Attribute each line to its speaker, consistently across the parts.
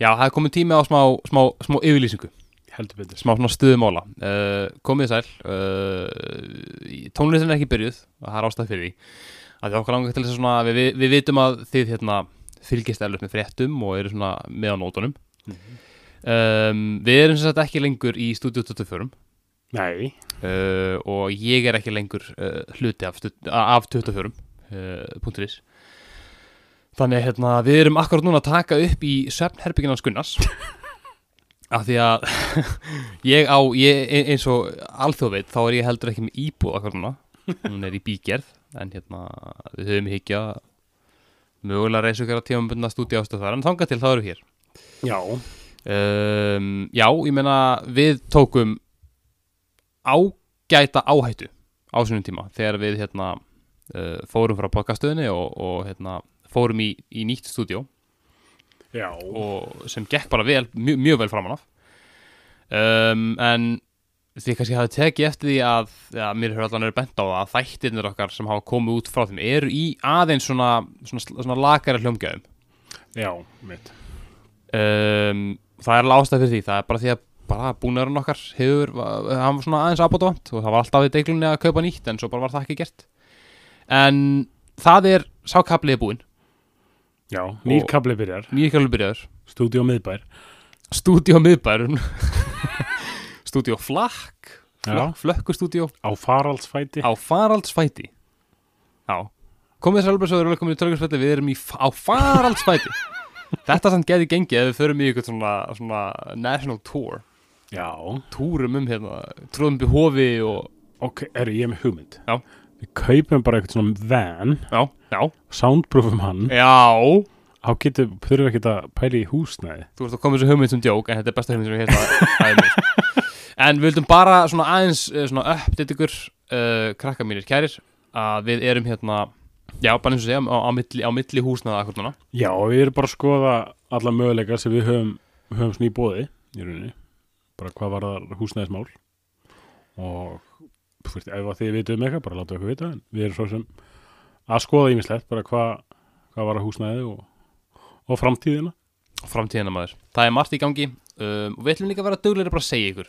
Speaker 1: Já, það er komið tími á smá, smá, smá yfirlýsingu,
Speaker 2: heldur betur
Speaker 1: smá svona stuðumála. Uh, komið sæl, uh, tónlistin er ekki byrjuð, það er ástæð fyrir því. Það er okkar langar til þess að svona, við, við, við vitum að þið hérna, fylgist eflut með fréttum og eru svona með á nótunum. Um, við erum sem sagt ekki lengur í Studio 24
Speaker 2: Nei,
Speaker 1: uh, og ég er ekki lengur uh, hluti af, stu- af 24 uh, punkturis þannig að hérna, við erum akkurat núna að taka upp í svefnherbyggin hans Gunnars af því að ég á, ég, ein- eins og alþjóð veit, þá er ég heldur ekki með íbúð akkurat núna, hún er í bígerð en hérna, við höfum higgja mögulega reysu okkar að tímabundna stúdíu ástöð þar, en þangað til þá eru við hér
Speaker 2: já,
Speaker 1: um, Já, ég meina við tókum ágæta áhættu á sínum tíma þegar við hérna uh, fórum frá podcastöðinni og, og hérna fórum í, í nýtt stúdíó
Speaker 2: já
Speaker 1: og sem gekk bara vel, mjög, mjög vel framan af um, en því kannski hafði tekið eftir því að ja, mér hefur allan verið bent á það að þættirnir okkar sem hafa komið út frá þeim eru í aðeins svona, svona, svona lakari hljómgjöðum
Speaker 2: Já, mitt
Speaker 1: um, það er lástað fyrir því það er bara því að bara búnaðurinn okkar hefur, var- hann var svona aðeins abótavant og það var alltaf í deiglunni að kaupa nýtt en svo bara var það ekki gert en það er sákaplið búinn
Speaker 2: Já, nýr kabli byrjar,
Speaker 1: nýrkjálfur byrjaður
Speaker 2: stúdíó miðbær
Speaker 1: stúdíó miðbærun stúdíó flakk
Speaker 2: Já.
Speaker 1: flökkustúdíó
Speaker 2: á faraldsfæti
Speaker 1: á faraldsfæti já komið þess að alveg svo erum við komin í törgjarsfæti við erum í, f- á faraldsfæti þetta samt geti gengið ef við förum í ykkur svona, svona national tour
Speaker 2: Já,
Speaker 1: túrum um hérna, tróðum upp í hofi og
Speaker 2: ok, er ég er með hugmynd
Speaker 1: Já.
Speaker 2: Við kaupum bara eitthvað svona van
Speaker 1: já, já,
Speaker 2: soundproofum hann
Speaker 1: já
Speaker 2: þá getum, þurfum við ekki að pæla í húsnæði
Speaker 1: þú ert að koma þessu hugmynd sem djók en þetta er besta hugmynd sem ég hef það en við vildum bara svona aðeins eh, svona uppdætt ykkur uh, krakka mínir kærir að við erum hérna já, bara eins og segja á, á, milli, á milli húsnaða akkur núna
Speaker 2: Já, við erum bara að skoða alla möguleika sem við höfum, höfum svona í bóði í rauninni, bara hvað var það húsnæðismál og þú veist, ef að þið vitið um eitthvað bara láta okkur vita, en við erum svo sem að skoða ímislegt, bara hvað hvað var að húsnæði og, og framtíðina
Speaker 1: framtíðina maður það er margt í gangi um, og við ætlum líka að vera duglega bara að segja ykkur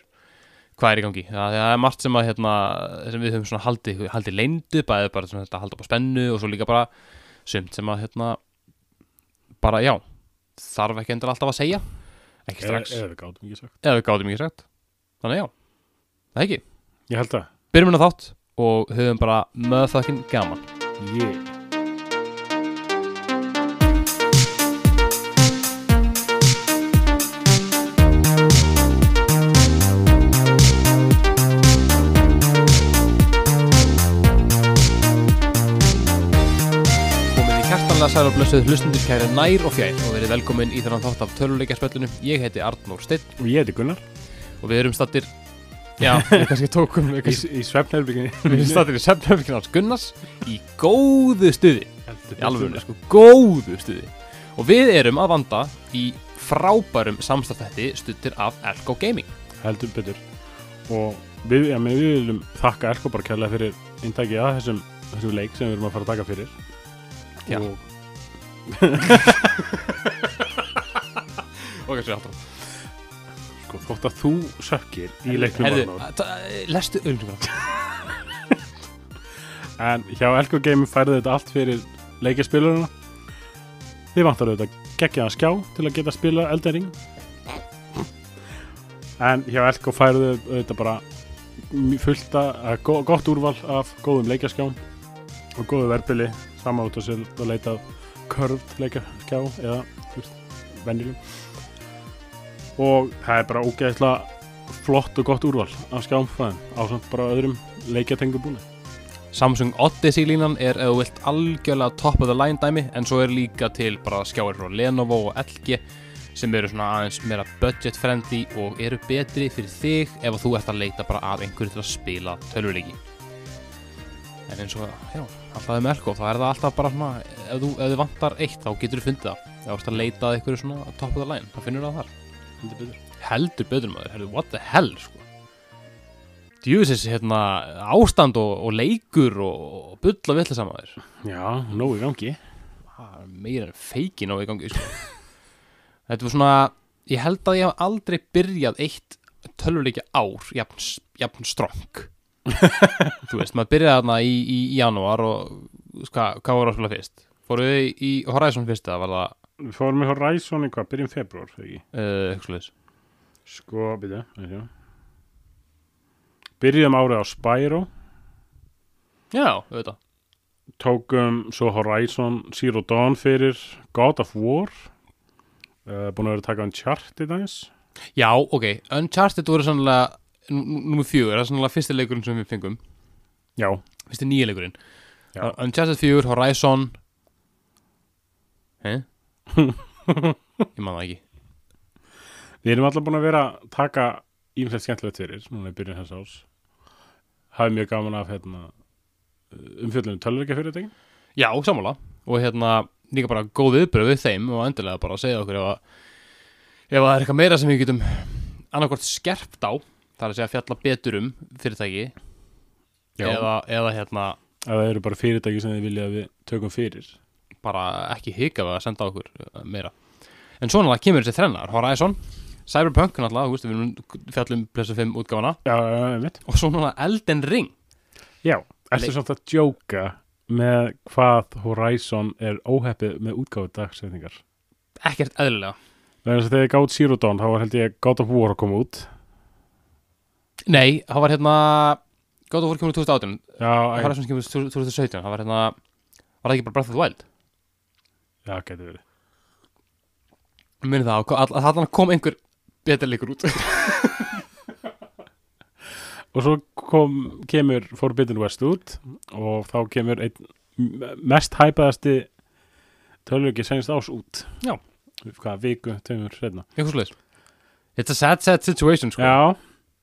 Speaker 1: hvað er í gangi það, það er margt sem, að, hérna, sem við höfum svona haldið, haldið leyndu bæði bara svona, þetta, haldið upp á spennu og svo líka bara sumt sem að hérna, bara já þarf ekki endur alltaf að segja ekki
Speaker 2: eða,
Speaker 1: strax
Speaker 2: eða við gátum ekki sagt.
Speaker 1: eða við gátum ekki sagt þannig að já, það ekki
Speaker 2: Ég held að,
Speaker 1: byrjum hérna þátt og höfum bara möðfakkin gaman
Speaker 2: ég
Speaker 1: komið í kertanlega sæl og blessuð hlustundir kæri nær og fjær og verið velkomin í þennan þátt af töluleikaspöllunum ég heiti Arnór Steinn
Speaker 2: og ég heiti Gunnar
Speaker 1: og við erum stattir já, við kannski tókum við,
Speaker 2: í,
Speaker 1: kannski,
Speaker 2: í svefnherbygginu
Speaker 1: við erum stattir í sefnöfningin hans Gunnars í góðu stuði í alveg,
Speaker 2: Alveg
Speaker 1: sko, góðu stuði og við erum að vanda í frábærum samstafætti stuttir af Elko Gaming
Speaker 2: heldur betur og við, ja, við viljum þakka Elko bara kærlega fyrir inntækið að þessum, þessum leik sem við erum að fara að taka fyrir
Speaker 1: Já. og
Speaker 2: og
Speaker 1: kannski aftur
Speaker 2: sko, þótt að þú sökkir í leiknum Arnór,
Speaker 1: lestu auðvitað
Speaker 2: en hjá Elko Game færði þetta allt fyrir leikjaspilurina við vantar auðvitað geggjaðan skjá til að geta að spila eldering en hjá Elko færði auðvitað bara m- fullt að go, gott úrval af góðum leikjaskjám og góðu verbili saman út að sér að leita að curved leikjaskjá eða þú veist, venjulegum og það er bara ógeðslega flott og gott úrval af skjámfæðum ásamt bara öðrum leikjatengu búinu
Speaker 1: Samsung Odyssey línan er eða þú vilt algjörlega top of the line dæmi en svo er líka til bara skjáir frá Lenovo og LG sem eru svona aðeins meira budget friendly og eru betri fyrir þig ef að þú ert að leita bara af einhverju til að spila tölvuleiki en eins og, já, alltaf með Elko þá er það alltaf bara svona, ef þú, ef þú vantar eitt þá getur þú fundið það, ef þú ert að leita að einhverju svona top of the line, þá finnur þú það þar heldur betur maður, herrðu, what the hell sko. djúðsins hérna, ástand og, og leikur og, og bulla villu samaður
Speaker 2: Já, nógu í gangi
Speaker 1: meira en feikin á í gangi sko. þetta var svona ég held að ég hef aldrei byrjað eitt tölvuleikja ár jafn, jafn strong þú veist, maður byrjaði þarna í, í, í janúar og hva, hvað voru að spila fyrst fóru við í, í Horizon fyrst eða var það
Speaker 2: Við fórum í Horizon eitthvað, byrjum februar, þegar ekki?
Speaker 1: uh, eitthvað leis
Speaker 2: Sko, byrja, byrja. Byrjum árið á Spyro,
Speaker 1: já, auðvitað
Speaker 2: tókum svo Horizon Zero Dawn fyrir God of War, uh, búin að vera að taka um chart í dagins.
Speaker 1: já, ok, Uncharted voru sannlega nummer fjögur, það er sannlega fyrsti leikurinn sem við fengum
Speaker 2: Já,
Speaker 1: fyrsti nýja leikurinn
Speaker 2: Já.
Speaker 1: Uh, Uncharted 4, Horizon hei ég man það ekki
Speaker 2: við erum alltaf búin að vera að taka ímsett skemmtilegt fyrir, núna í byrjun þess árs. Hafið mjög gaman af hérna, eh, um umfjöllunum tölvöka fyrirtækin.
Speaker 1: Já, sammála og hérna líka bara góð viðbröð við þeim og endilega bara að segja okkur ef að, ef að það er eitthvað meira sem við getum annarkvort skerpt á það er að segja fjalla betur um fyrirtæki eða, eða hérna
Speaker 2: Að það eru bara fyrirtæki sem þið vilja að við tökum fyrir.
Speaker 1: bara ekki hika við að senda okkur eh, meira en svona kemur þessi þrennar Horizon, Cyberpunk náttúrulega, þú veist við erum fjallum plessa 5 útgáfana
Speaker 2: Já, einmitt.
Speaker 1: og svo núna Elden Ring
Speaker 2: Já, ertu
Speaker 1: Leik-
Speaker 2: samt að djóka með hvað Horizon er óheppið með útgáfu dagsendingar?
Speaker 1: ekkert eðlilega
Speaker 2: Þegar þegar ég gátt Zero Dawn, þá var held ég God of War að koma út.
Speaker 1: Nei, það var hérna God of War kemur 2018
Speaker 2: Já, æ,
Speaker 1: Horizon kemur 2017 það var hérna, var það ekki bara Breath of the Wild
Speaker 2: já, gæti verið.
Speaker 1: Muni það, all- að þarna kom einhver betur leikur út
Speaker 2: Og svo kom, kemur Forbidden West út og þá kemur einn m- mest hæpaðasti tölvöki senst ás út.
Speaker 1: Já.
Speaker 2: Hvað, viku, tveimur, setna.
Speaker 1: Eitthvað slags It's a sad, sad situation, sko
Speaker 2: Já,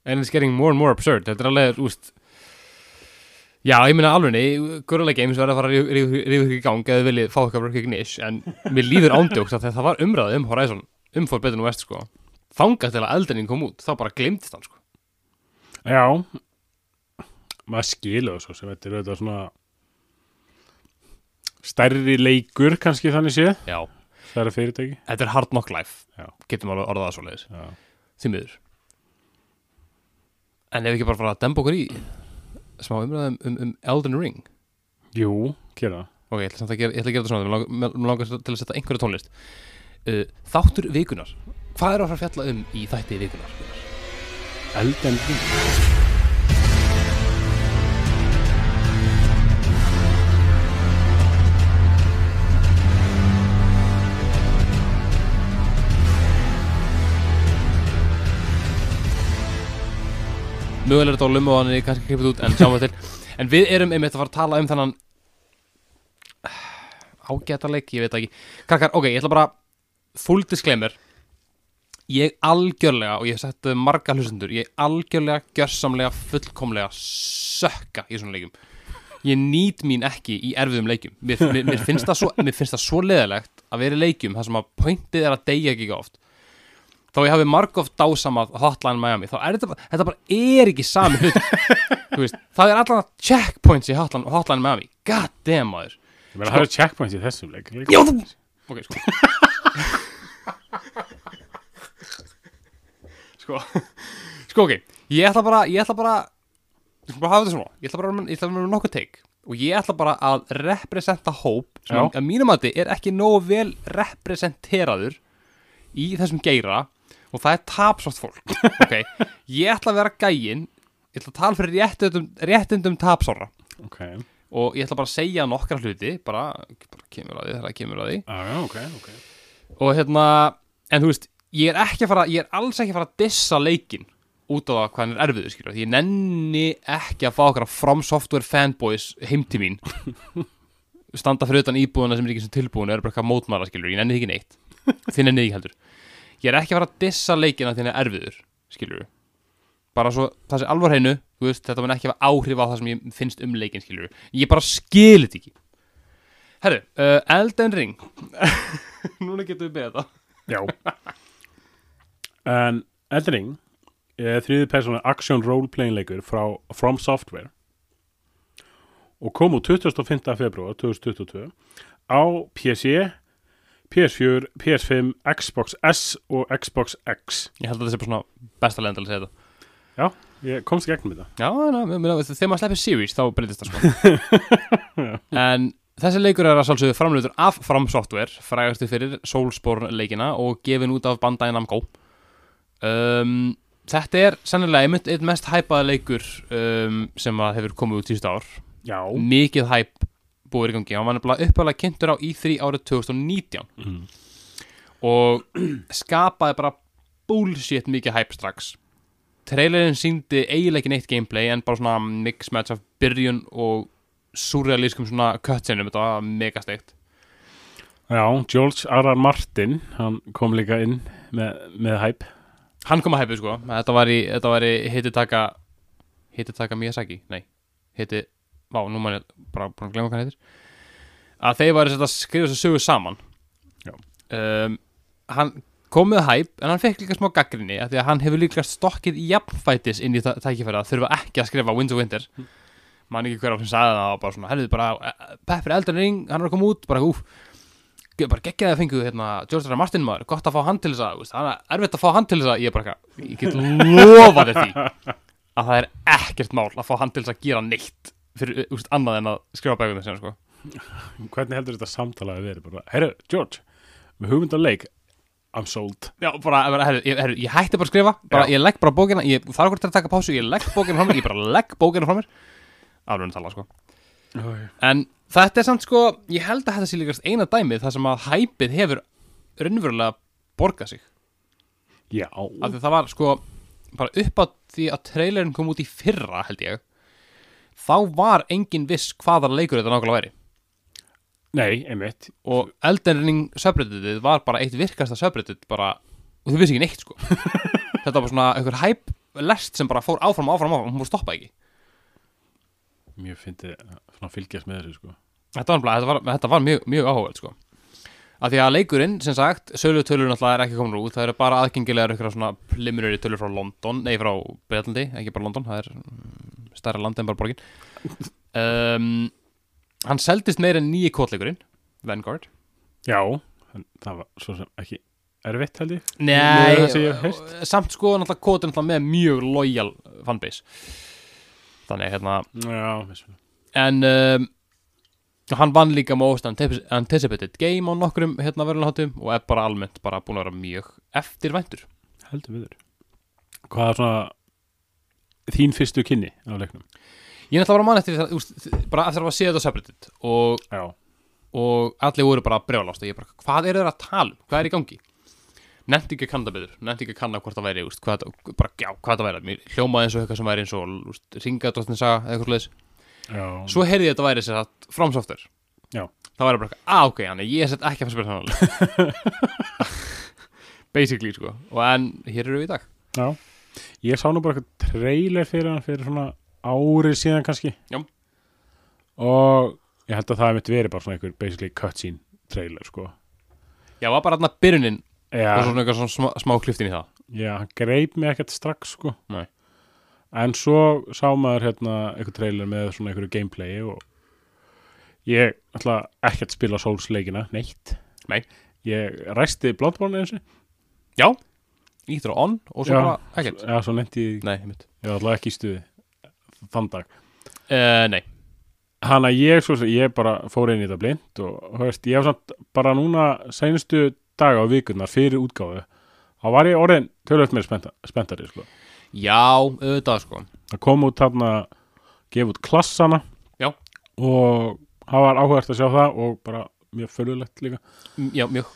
Speaker 1: And it's getting more and more absurd Þetta er alveg, úst Já, ég meina alveg, nei, Gurulega Games verða að fara að ríða ykkur í gang eða þið viljið fá eitthvað recognition en mér líður ándjóks að það var umræðið um Horizon um fór betur nú vest, sko þangað til að eldenning kom út, þá bara glimtist hann, sko
Speaker 2: já. Maður skilur það svo sem þetta er auðvitað svona stærri leikur kannski þannig séð.
Speaker 1: Já,
Speaker 2: Stærra fyrirtæki.
Speaker 1: þetta er hard knock life
Speaker 2: Já.
Speaker 1: Getum alveg orðað það svo leiðis,
Speaker 2: Já.
Speaker 1: því miður En ef ekki bara fara að demba okkur í smá umræðum um, um Elden Ring
Speaker 2: Jú, gera það.
Speaker 1: Ok, ég ætla samt að gera, ég ætla að gera þetta svona Mér langar, mig- mig langar til að setja einhverja tónlist uh, Þáttur vikunar Hvað er að fara að fjalla um í þætti vikunar?
Speaker 2: Elden Ring.
Speaker 1: Mögulega er þetta á lumu og hann er kannski klippið út En sjáum við til En við erum einmitt að fara að tala um þennan Ágætarleik, ég veit það ekki Krakkar, ok, ég ætla bara Full disclaimer Ég algjörlega, og ég hef sett uh, marga hlustendur Ég algjörlega, gjörsamlega, fullkomlega Sökka í svona leikum Ég nýt mín ekki í erfiðum leikum Mér, mér, mér, finnst, það svo, mér finnst það svo leðilegt Að vera í leikum þar sem að pointið er að deyja ekki oft þá ég hafi margóft dásamað Hotline Miami, þá er þetta bara, þetta bara er ekki sami hlut Þú veist, það er allan checkpoints í Hotline, hotline Miami god damn maður
Speaker 2: Ég meina, það er checkpoints í þessum leik. leik.
Speaker 1: Já, þú- ok, sko sko sko, ok, ég ætla bara ég ætla bara, ég ætla bara að hafa þetta svona ég ætla bara, að- ég ætla bara að vera nokkuð teik og ég ætla bara að representa hóp sem
Speaker 2: Já.
Speaker 1: að mínum að þið er ekki nógu vel representeraður í þessum geira og það er tapsátt fólk ok, ég ætla að vera gæin ég ætla að tala fyrir réttundum, réttundum tapsára
Speaker 2: Ok.
Speaker 1: og ég ætla bara að segja nokkra hluti bara, bara kemur að því þegar það kemur að því
Speaker 2: Ah, Já, já, ok, ok.
Speaker 1: og hérna, en þú veist ég er ekki að fara, ég er alls ekki að fara að dissa leikin út á það hvað hann er erfiður skilur, því ég nenni ekki að fá okkar from software fanboys heim til mín standa fyrir utan íbúðuna sem er ekki sem tilbúin og er bara eitthvað að mótmæla skilur, ég nenni því ekki neitt þið nenni því ekki heldur ég er ekki að fara að dissa leikin að því hann er erfiður skilur, bara svo það sé alvar hreinu, þú veist, þetta mun ekki hafa áhrif á það sem ég finnst um leikin skilur ég bara skil þetta ekki Herru, uh, Elden Ring Núna getum við beðið þetta
Speaker 2: Já. en Elden Ring er þriði persónu action role-playing leikur frá From Software og kom úr 25. februar 2022 á PC, PS4, PS5, Xbox S og Xbox X
Speaker 1: Ég held að það sé bara svona besta leiðin til að segja þetta
Speaker 2: Ég komst í gegnum þetta
Speaker 1: Já, na, na, na, þegar maður sleppir series þá breytist það sko En þessi leikur er að sálsögðu framleitur af From Software frægastu fyrir Soulsborne leikina og gefin út af Bandai Namco um, Þetta er sennilega einmitt eitt mest hæpaða leikur um, sem að hefur komið út tíðust ár
Speaker 2: Já
Speaker 1: mikið hæp búið í gangi hann var nefnilega uppalega kynntur á E3 árið 2019
Speaker 2: mm.
Speaker 1: og skapaði bara bullshit mikið hæp strax trailerinn síndi eiginlega ekki neitt gameplay en bara svona mix match af byrjun og surrealískum svona cutscenum, þetta var mega steikt
Speaker 2: Já, George R.R. Martin hann kom líka inn með, með hæp
Speaker 1: hann kom að hæpu sko, þetta var í, þetta var í hititaka hititaka Miyazaki, nei hiti, vá, nú mann ég bara búin að glemma hvað hann heitir að þeir var að skrifa þessu sögu saman
Speaker 2: Já.
Speaker 1: um, hann kom með hæp en hann fekk líka smá gaggrinni af því að hann hefur líka stokkið jafnfætis inn í það tækifæra að þurfa ekki að skrifa Winds of Winter mann ekki hver á sem sagði það og bara svona, herrið bara, eh, Pepper Elden Ring hann er að koma út, bara úf ge- bara geggjaði að fengu hérna George R. R. Martin maður, gott að fá hann til þess að, þú veist, það er erfitt að fá hann til þess að, ég er bara eitthvað, ég get lofa þér því að það er ekkert mál að fá hann til þess að gera neitt fyrir, þú veist, annað en að skrifa bægum þess sko.
Speaker 2: Hvernig heldur þetta samtalaði verið? Bara, Herru, George, með hugmyndan leik I'm sold
Speaker 1: Já, bara, eh, bara herru, ég, herru, ég hætti bara að skrifa bara,
Speaker 2: Já.
Speaker 1: ég legg bara bókina, ég þarf hvort að taka pásu ég legg bókina frá mér, ég bara legg bókina frá mér alveg að tala, sko
Speaker 2: Æ.
Speaker 1: En þetta er samt sko, ég held að þetta sé líkast eina dæmið þar sem að hæpið hefur raunverulega borgað sig
Speaker 2: Já
Speaker 1: af því það var sko bara upp á því að trailerin kom út í fyrra held ég þá var engin viss hvaða leikur þetta nákvæmlega væri
Speaker 2: Nei, einmitt
Speaker 1: og Elden Ring subredditið var bara eitt virkasta subreddit bara, og þau vissi ekki neitt sko þetta var bara svona einhver hæp lest sem bara fór áfram áfram áfram og hún stoppa ekki
Speaker 2: Mér fyndi svona að fylgjast með þessu sko
Speaker 1: þetta var, nefnilega- þetta var, þetta var mjög, mjög áhugað sko. af því að leikurinn, sem sagt sölutölur náttúrulega er ekki komin út það eru bara aðgengilegar ykkur svona preliminary tölur frá London, nei frá Breitlandi ekki bara London, það er mm, stærra land en bara borgin um, hann seldist meira en nýji kótleikurinn Vanguard
Speaker 2: Já en Það var svo sem ekki erfitt held ég
Speaker 1: Nei,
Speaker 2: Meira en það sem ég hef heyrt.
Speaker 1: samt sko náttúrulega kóti náttúrulega með mjög loyal fanbase þannig hérna
Speaker 2: Já, vissulega
Speaker 1: en um, hann vann líka most ante- anticipated game á nokkrum hérna verðunháttum og er bara almennt bara búin að vera mjög eftirvæntur
Speaker 2: Heldur viður Hvað er svona þín fyrstu kynni á leiknum?
Speaker 1: ég er náttúrulega bara mann eftir það, úst, bara eftir að séð þetta separated og,
Speaker 2: Já
Speaker 1: og allir voru bara brjálást og ég bara, hvað eru þeir að tala um, hvað er í gangi nefndi ekki að kanna betur, nefndi ekki að kanna hvort það væri úst, hvað, þetta- bara, já, hvað það væri, mér hljómaði eins og eitthvað sem væri eins og úst, ringadróttin saga eða eitthvað leis,
Speaker 2: Já
Speaker 1: svo heyrði ég að þetta væri sér að frámsoftur
Speaker 2: Já.
Speaker 1: það væri bara eitthvað, að ok, hann ég set ekki að spila þannig basically sko og en hér eru við í dag
Speaker 2: Já Ég sá nú bara eitthvað trailer fyrir hann fyrir svona árið síðan kannski
Speaker 1: Já.
Speaker 2: Og ég held að það hefði mitt verið bara svona einhver basically cutscene trailer sko
Speaker 1: já, var bara hann að byrjunin og
Speaker 2: Já,
Speaker 1: svona eitthvað svona smá, smá kliftin í það
Speaker 2: já hann greip mig ekkert strax sko
Speaker 1: Nei.
Speaker 2: En svo sá maður hérna einhver trailer með svona einhverju gameplayi og ég ætla ekkert að spila Souls leikina, neitt
Speaker 1: Nei.
Speaker 2: Ég ræsti Bloodborne eins og
Speaker 1: já, ítur á on og svo
Speaker 2: Já.
Speaker 1: bara ekkert
Speaker 2: Já, svo nefndi ég,
Speaker 1: nei, mitt
Speaker 2: ég var alltaf ekki í stuði þann dag.
Speaker 1: uh, nei,
Speaker 2: Hanna ég, svo sem ég bara fór inn í þetta blind og, þú veist, ég hef samt bara núna seinustu daga og vikurnar fyrir útgáfu, þá var ég orðin tölvöld mér spennta, spenntari, sko.
Speaker 1: já, auðvitað sko
Speaker 2: Það kom út þarna, gefa út klassana
Speaker 1: Já.
Speaker 2: og það var áhugast að sjá það og bara mjög fölulegt líka.
Speaker 1: M- já, mjög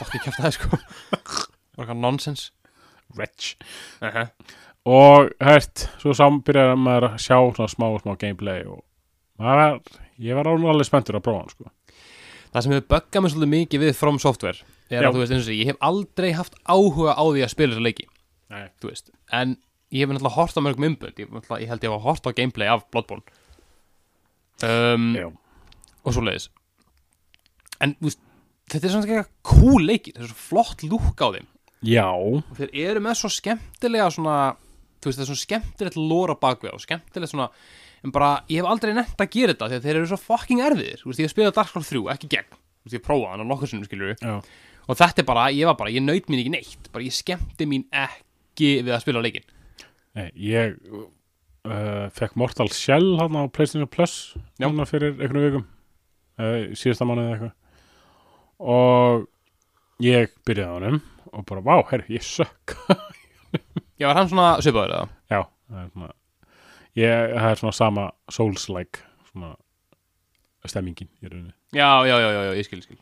Speaker 1: fokk ég kæfti það sko bara eitthvað nonsense
Speaker 2: Wretch.
Speaker 1: uh -huh.
Speaker 2: Og, hægt, svo sambyrjar maður að sjá svona smá og smá gameplay og maður var, ég var alveg alveg spenntur að prófa hann, sko.
Speaker 1: Það sem hefur böggað mér svolítið mikið við From Software er
Speaker 2: Já.
Speaker 1: að þú veist eins og þessi, ég hef aldrei haft áhuga á því að spila þessa leiki
Speaker 2: Nei.
Speaker 1: þú veist, en ég hef náttúrulega hort á mörgum umbönd, ég, hef náttúrulega- ég held ég hef hort á gameplay af Bloodborne um,
Speaker 2: Já.
Speaker 1: og svo leiðis en þú veist, þetta er svona ekki eitthvað cool leikir, þetta er svo flott lúk á þeim
Speaker 2: Já.
Speaker 1: og þeir eru með svo skemmtilega svona, þú veist, það er svo skemmtilegt lóra bakvið og skemmtilegt svona en bara, ég hef aldrei nefnt að gera þetta þegar þeir eru svo fucking erfiðir, þú veist, ég hef spilað Dark Souls 3, ekki í gegn Þú veist, ég prófaði hann á nokkur sinnum skilur
Speaker 2: já,
Speaker 1: og þetta er bara, ég var bara, ég naut mín ekki neitt bara ég skemmti mín ekki við að spila leikinn
Speaker 2: nei, ég uh, fekk Mortal Shell hann á PlayStation Plus
Speaker 1: Já.
Speaker 2: núna fyrir einhvern vikum uh, síðasta mánuði eða eitthvað og ég byrjaði á honum og bara, vá, herri, ég sökk
Speaker 1: Já, var hann svona svipaður eða?
Speaker 2: já, það er svona ég, það er svona sama Souls-like svona stemmingin í rauninni
Speaker 1: Já, já, já, já, já ég skil, ég skil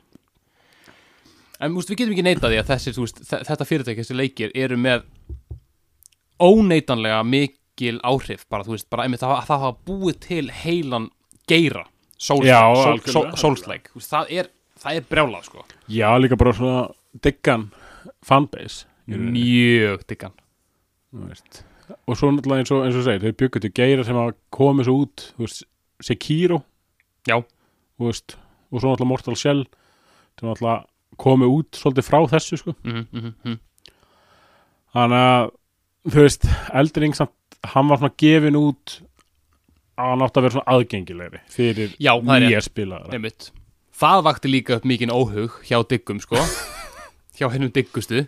Speaker 1: En úst, við getum ekki neitað því að þessi, þú veist, þe- þetta fyrirtæki, þessi leikir eru með óneitanlega mikil áhrif bara, þú veist, bara einmitt það, það hafa búið til heilan geira
Speaker 2: Já,
Speaker 1: sólslæk,
Speaker 2: algjörlega.
Speaker 1: sólslæk það er, það er brjálað, sko
Speaker 2: já, líka bara svona diggan fanbase í rauninni.
Speaker 1: Mjög diggan
Speaker 2: Þú veist. og svo náttúrulega eins og, eins og þú segir þeir byggu til geira sem að koma svo út þú veist, Sekiro
Speaker 1: Já,
Speaker 2: þú veist, og svo náttúrulega Mortal Shell sem náttúrulega komi út svolítið frá þessu sko
Speaker 1: mhm, mhm, mhm
Speaker 2: þannig að þú veist, Eldring samt hann var svona gefin út að hann átti að vera svona aðgengilegri fyrir
Speaker 1: Já, það er
Speaker 2: nýja spilaðara
Speaker 1: Einmitt. Það vakti líka upp mikinn óhug hjá diggum sko hjá hennum diggustu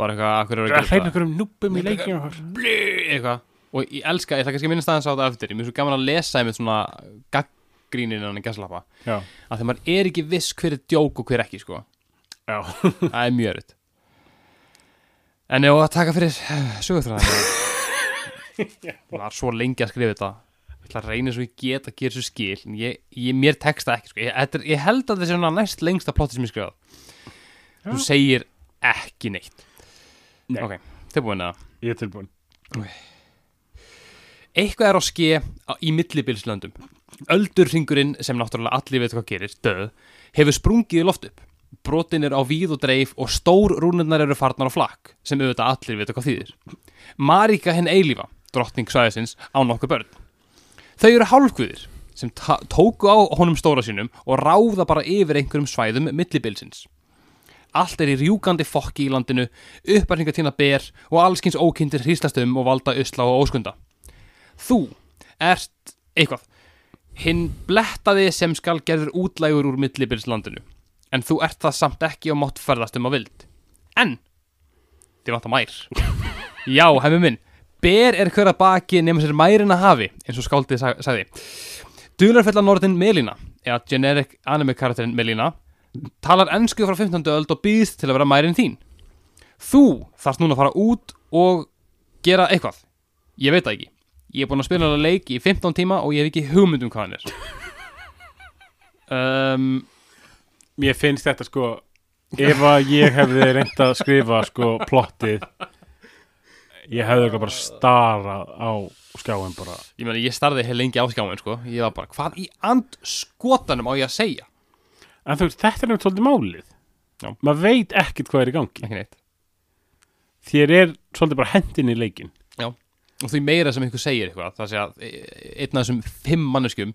Speaker 1: bara eitthvað, akkur er
Speaker 2: Það er
Speaker 1: að
Speaker 2: að
Speaker 1: gera
Speaker 2: hreina
Speaker 1: þetta
Speaker 2: einhverjum núpum í leikinu okkar.
Speaker 1: Blú, eitthvað og ég elska, ég ætla kannski að minnast aðeins á þetta eftir ég mér er svo gaman að lesa einmitt svona gaggrínin hann í gaslappa
Speaker 2: Já,
Speaker 1: að þegar maður er ekki viss hver er djók og hver ekki sko
Speaker 2: já
Speaker 1: það er mjög erut en ég á að taka fyrir sögutræðan var svo lengi að skrifa þetta ég ætla að reyna svo ég get að gera svo skil en ég, ég mér texta ekki sko. ég, þetta er- ég held að þetta er svona næst lengsta plotti sem ég skrifað þú segir ekki neitt
Speaker 2: Nei.
Speaker 1: ok, tilbúin að
Speaker 2: Ég er tilbúin
Speaker 1: eitthvað er á ske á, í millibilslöndum öldurringurinn sem náttúrulega allir veit hvað gerir, döð hefur sprungið í loft upp brotin er á víð og dreif og stór rúnirnar eru farnar á flakk sem auðvitað allir veit hvað þýðir Marika henn eilífa, drottning svæðisins á nokkuð börn þau eru hálfguðir sem ta- tóku á honum stóra sínum og ráða bara yfir einhverjum svæðum millibilsins Allt er í rjúkandi fokki í landinu, upparhinga tína ber og allskins ókindir hrýslast um og valda usla og óskunda þú ert eitthvað hinn blettaði sem skal gerður útlægur úr millibilslandinu en þú ert það samt ekki og mátt ferðast um á vild en þið vantar mær já, hemmi minn ber er hver að baki nema sér mærin að hafi eins og skáldið sa- sagði dularfella norðin Melina eða generic anime karakterinn Melina talar ennsku frá 15. öld og býðst til að vera mærin þín þú þarft núna að fara út og gera eitthvað ég veit það ekki Ég er búinn að spila hann að leik í 15 tíma og ég hef ekki hugmynd um hvað hann er um,
Speaker 2: Mér finnst þetta sko Ef að ég hefði reynd að skrifa sko plottið Ég hefði eitthvað bara starað á skjáin bara
Speaker 1: Ég meina, ég starði heil lengi á skjáin, sko Ég var bara, hvað í and skotanum á ég að segja?
Speaker 2: En þú veist, þetta er nefnt svolítið málið
Speaker 1: Já.
Speaker 2: Maður veit ekkert hvað er í gangi
Speaker 1: Ekki neitt
Speaker 2: Þér er svolítið bara hendin í leikin
Speaker 1: Já Og því meira sem einhver segir eitthvað Það sé að e- einn af þessum fimm manneskjum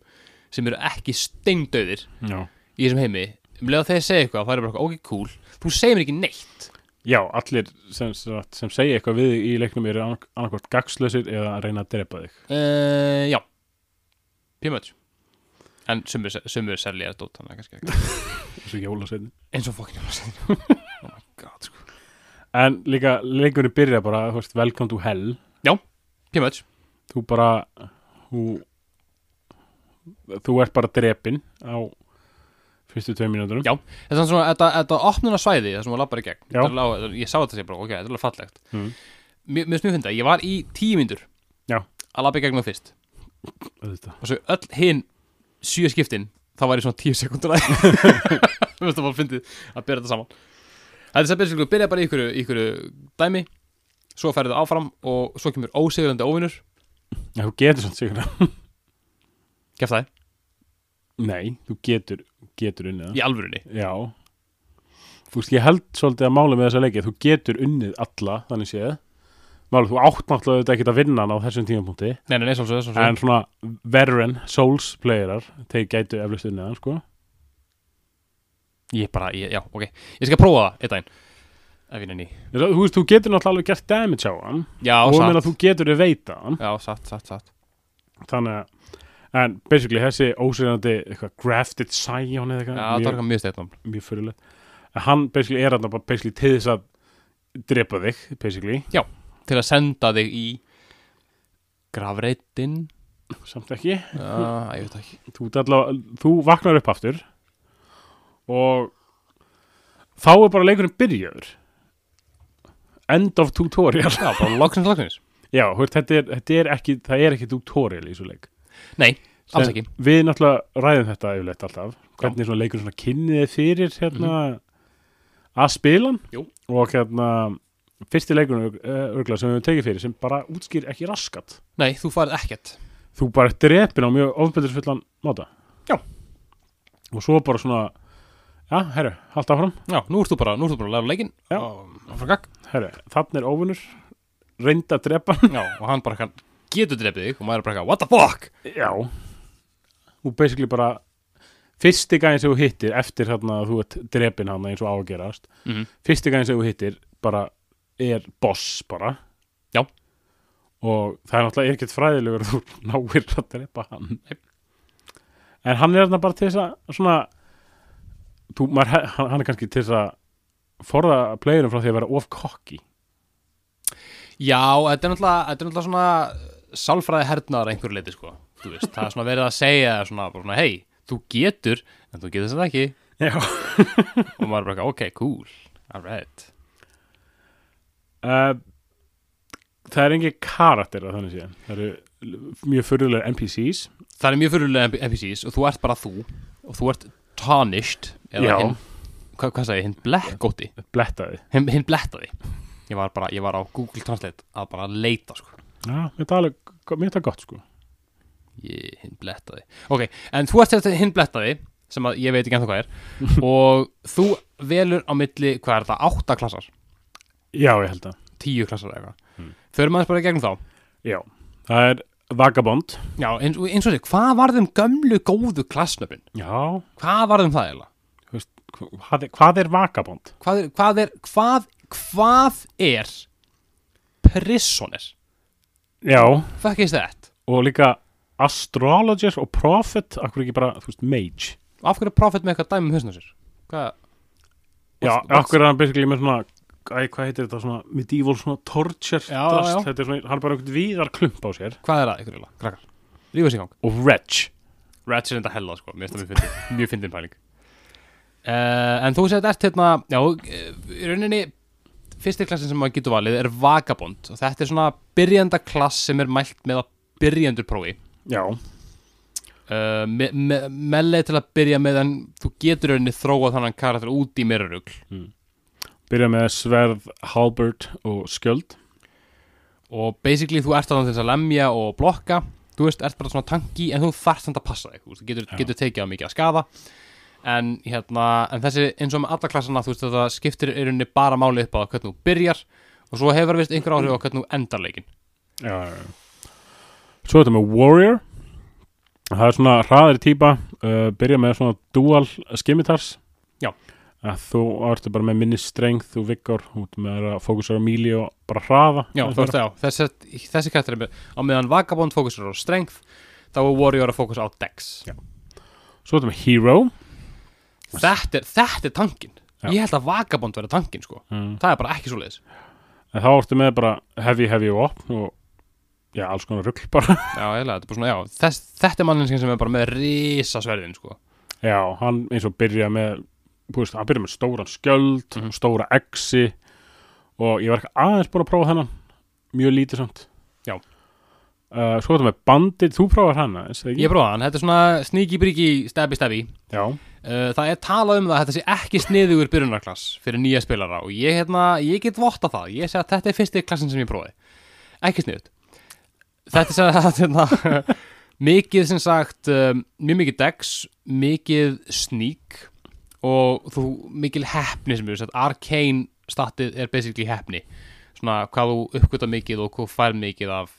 Speaker 1: sem eru ekki steindauðir
Speaker 2: Já,
Speaker 1: í þessum heimi um leið að þeir segja eitthvað, það er bara eitthvað, ok, cool Þú segir mér ekki neitt
Speaker 2: allir sem, sem, sem segja eitthvað við þig í leiknum eru annarkvort gagslausir eða að reyna að drepa þig
Speaker 1: uh, Já Pímöld En sumur, sumur selja þetta út, þannig að kannski ekki
Speaker 2: Þessu jólasveitin
Speaker 1: Eins og fokkin Oh my god, sko
Speaker 2: En líka leikurinn byrja bara, þú veist, welcome to hell
Speaker 1: Já, pímöld
Speaker 2: þú bara þú, þú ert bara drepin á fyrstu tvei mínúturum
Speaker 1: Já, þetta er svona, þetta, þetta opnuna svæði það sem maður lappar í gegn
Speaker 2: Já.
Speaker 1: Þetta er alveg- þetta- ég sá þetta sér bara, ok, þetta er alveg fallegt
Speaker 2: Mhm.
Speaker 1: mér mér finnst mjög fyndið, ég var í tíu myndur
Speaker 2: Já.
Speaker 1: að lappa í gegn með fyrst
Speaker 2: auðvitað.
Speaker 1: og svo öll hinn sjö skiptin þá var ég svona tíu sekunduna mér finnst það bara fyndið að byrja þetta saman þetta er sem byrja sér, byrja bara í ykkur, ykkur dæmi svo ferðu áfram og svo kemur ósigurandi óvinur
Speaker 2: Já, þú getur svona sigur
Speaker 1: keftaði,
Speaker 2: nei, þú getur, getur unnið það.
Speaker 1: í alvörunni
Speaker 2: já þú veist, ég held svolítið að máli með þessa leiki þú getur unnið alla, þannig séð Málið, þú átt náttúrulega auðvitað ekkert að vinna hann á þessum tímapunkti
Speaker 1: nei, nei, nei, svolsöð,
Speaker 2: en
Speaker 1: svolsöð.
Speaker 2: svona veteran Souls playerar, þeir gætu eflust unnið hann, sko
Speaker 1: ég bara, ég, já, ok ég skal prófa það, eitt dæn ef ég nenni
Speaker 2: En svo, þú veist, þú getur náttúrulega alveg gert damage á hann
Speaker 1: já,
Speaker 2: og ég meina
Speaker 1: satt,
Speaker 2: þú getur að veita hann
Speaker 1: já, satt, satt, satt
Speaker 2: þannig að en basically þessi ósýrandi eitthvað grafted Scion eða
Speaker 1: Já,
Speaker 2: eitthvað
Speaker 1: það
Speaker 2: mjög-
Speaker 1: var eitthvað mjög steitnum
Speaker 2: mjög fyrirlega en hann basically er hann bara basically til þess að drepa þig basically,
Speaker 1: Til að senda þig í grafreitin
Speaker 2: samt ekki
Speaker 1: Já, ég veit ekki
Speaker 2: þú, ert allavega- þú vaknar upp aftur og þá er bara leikurinn byrjaður end of tutorial
Speaker 1: Já, bara loksins loksins
Speaker 2: já, þú veist, þetta, er, þetta er ekki það er ekki tutorial í þessu leik
Speaker 1: Nei, alls ekki
Speaker 2: við náttúrulega ræðum þetta yfirleitt alltaf hvernig svona leikur svona kynnið fyrir hérna að spila hann.
Speaker 1: Jú.
Speaker 2: og hérna fyrsti leikurinn uh, örgla sem við höfum tekið fyrir sem bara útskýr ekki raskat
Speaker 1: Nei, þú farið ekkert
Speaker 2: þú bara ert drepin á mjög ofbelðisfullan máta
Speaker 1: Já.
Speaker 2: og svo bara svona já, herru, halda áfram
Speaker 1: Já, nú ert þú bara, nú ert þú bara að læra leikinn
Speaker 2: Já.
Speaker 1: Og frá gagg
Speaker 2: herru, þannig er óvinnur reynda að drepa
Speaker 1: Já, og hann bara kann, getur drefið þig Og maður er bara eitthvað, what the fuck
Speaker 2: hann já og basically bara fyrsti gæðin sem þú hittir eftir þarna að þú ert drepin hann eins og á að gerast
Speaker 1: mm
Speaker 2: fyrsti gæðin sem þú hittir bara er boss bara
Speaker 1: Já.
Speaker 2: og það er náttúrulega ekkert fræðilegur að þú náir að drepa hann
Speaker 1: Nei.
Speaker 2: en hann er þarna bara til þess að svona þú, maður, he- hann, hann er kannski til þess að forða playerum frá því að vera of kokki
Speaker 1: Já, þetta er náttúrulega, þetta er náttúrulega svona uh, sálfræði hernaðar einhverju leiti sko Þú veist, það er svona verið að segja þér svona, bara svona, hei, þú getur, en þú getur þetta ekki
Speaker 2: já
Speaker 1: Og maður er bara, eitthvað, ok, cool, alright
Speaker 2: uh, það er engin karakter að þannig séðan það eru mjög fyrirlega NPCs
Speaker 1: Það er mjög fyrirlega NPCs og þú ert bara þú Og þú ert tarnished
Speaker 2: Já.
Speaker 1: Eða hinn, hvað, hvað sagði, ég, hinn blekkóti
Speaker 2: blettaði
Speaker 1: Hinn, hinn blettaði Ég var bara, ég var á Google Translate að bara leita sko
Speaker 2: já, mér er þetta gott sko
Speaker 1: ég hinn blettaði ok, en þú ert þetta hinn blettaði sem að ég veit ekki ennþá hvað er og þú velur á milli hvað er það, átta klassar,
Speaker 2: já, ég held að
Speaker 1: tíu klassar eða eitthvað mm. förum aðeins bara í gegnum þá
Speaker 2: já. það er Vagabond
Speaker 1: já, eins, og- eins og þessi, hvað varðum gömlu góðu klassnöfin,
Speaker 2: já,
Speaker 1: hvað varðum það eiginlega
Speaker 2: hvað er, hvað er Vagabond?
Speaker 1: hvað er, hvað er, hvað, hvað er prisoner,
Speaker 2: já,
Speaker 1: fuck is that
Speaker 2: og líka Astrologer og Prophet akkur ekki bara, þú veist, Mage
Speaker 1: af hverju er prophet með eitthvað dæmi um hausnum á sér hvað,
Speaker 2: já,
Speaker 1: What's- what's-
Speaker 2: akkur er hann basically með svona Æ, hvað heitir þetta svona medieval svona torture
Speaker 1: Já,
Speaker 2: drast,
Speaker 1: já.
Speaker 2: þetta er svona, hann er bara einhvern viðar klump á sér
Speaker 1: hvað er það ykkur eiginlega, krakkar, rífið sér í gang
Speaker 2: og Wretch
Speaker 1: Ratchet and Hella sko, mér finnst það mjög fyndin mjög fyndin pæling uh, en þú segir ert hérna já, eh, í rauninni fyrsti klassin sem maður getur valið er Vagabond og þetta er svona byrjanda klass sem er mælt með að byrjandur prófi
Speaker 2: já,
Speaker 1: uh, me, me, meðlega til að byrja með en þú getur í rauninni þróa þannan karakter út í meira rugl
Speaker 2: byrja með Sverð, Halbert og Skjöld
Speaker 1: og basically þú ert þannig til þess að lemja og blokka þú veist, ert bara svona tanki en þú þarft þannig að passa þig, þú veist, þú getur,
Speaker 2: Já.
Speaker 1: getur tekið á mikið að skafa en hérna, en þessi eins og með alla klassana, þú veist, þetta skiptir í rauninni bara máli upp á hvernig þú byrjar og svo hefur vist einhver áhrif á hvernig þú endar leikin
Speaker 2: já, já, já svo er þetta með Warrior það er svona hraðir típa uh, byrja með svona dual skimitars
Speaker 1: Já.
Speaker 2: að þú ertu bara með minni strengð þú vikkar, út með að fókusar á míli og bara hraða
Speaker 1: já, þú veist, já, þessi, þessi karakter er með- á meðan Vagabond fókusur á strength þá er Warrior að fókusa á Dex
Speaker 2: Já. svo er þetta með Hero
Speaker 1: þetta er, þetta er tankin
Speaker 2: Já.
Speaker 1: ég held að Vagabond verði tankin, sko
Speaker 2: mm.
Speaker 1: það er bara ekki svo leiðis
Speaker 2: en þá ertu með bara heavy heavy og op og já, alls konar rugl bara
Speaker 1: já, eiginlega, þetta er bara svona, já, þess, þetta er manninskin sem er bara með risasverðin, sko
Speaker 2: já, hann eins og byrja með þú veist, hann byrja með stóran skjöld
Speaker 1: Mhm.
Speaker 2: stóra exi og ég var ekki aðeins búin að prófa þennan mjög lítið samt
Speaker 1: Já.
Speaker 2: uh, svo er þetta með Bandit, þú prófar hann aðeins eða ekki?
Speaker 1: Ég prófaði hann, þetta er svona sníki bríki stabbi stabbi
Speaker 2: já,
Speaker 1: uh, Það er talað um það að þetta sé ekki sniðugur byrjunarklass fyrir nýja spilara og ég, hérna, ég get votta það, ég segi að þetta er fyrsti klassin sem ég prófaði Ekki sniðut Þetta er sem sagt hérna, mikið sem sagt, um, mjög mikið dex, mikið sník og þú mikil heppni sem við sagt, arcane statið er basically heppni svona hvað þú uppgöta mikið og hvað þú fær mikið af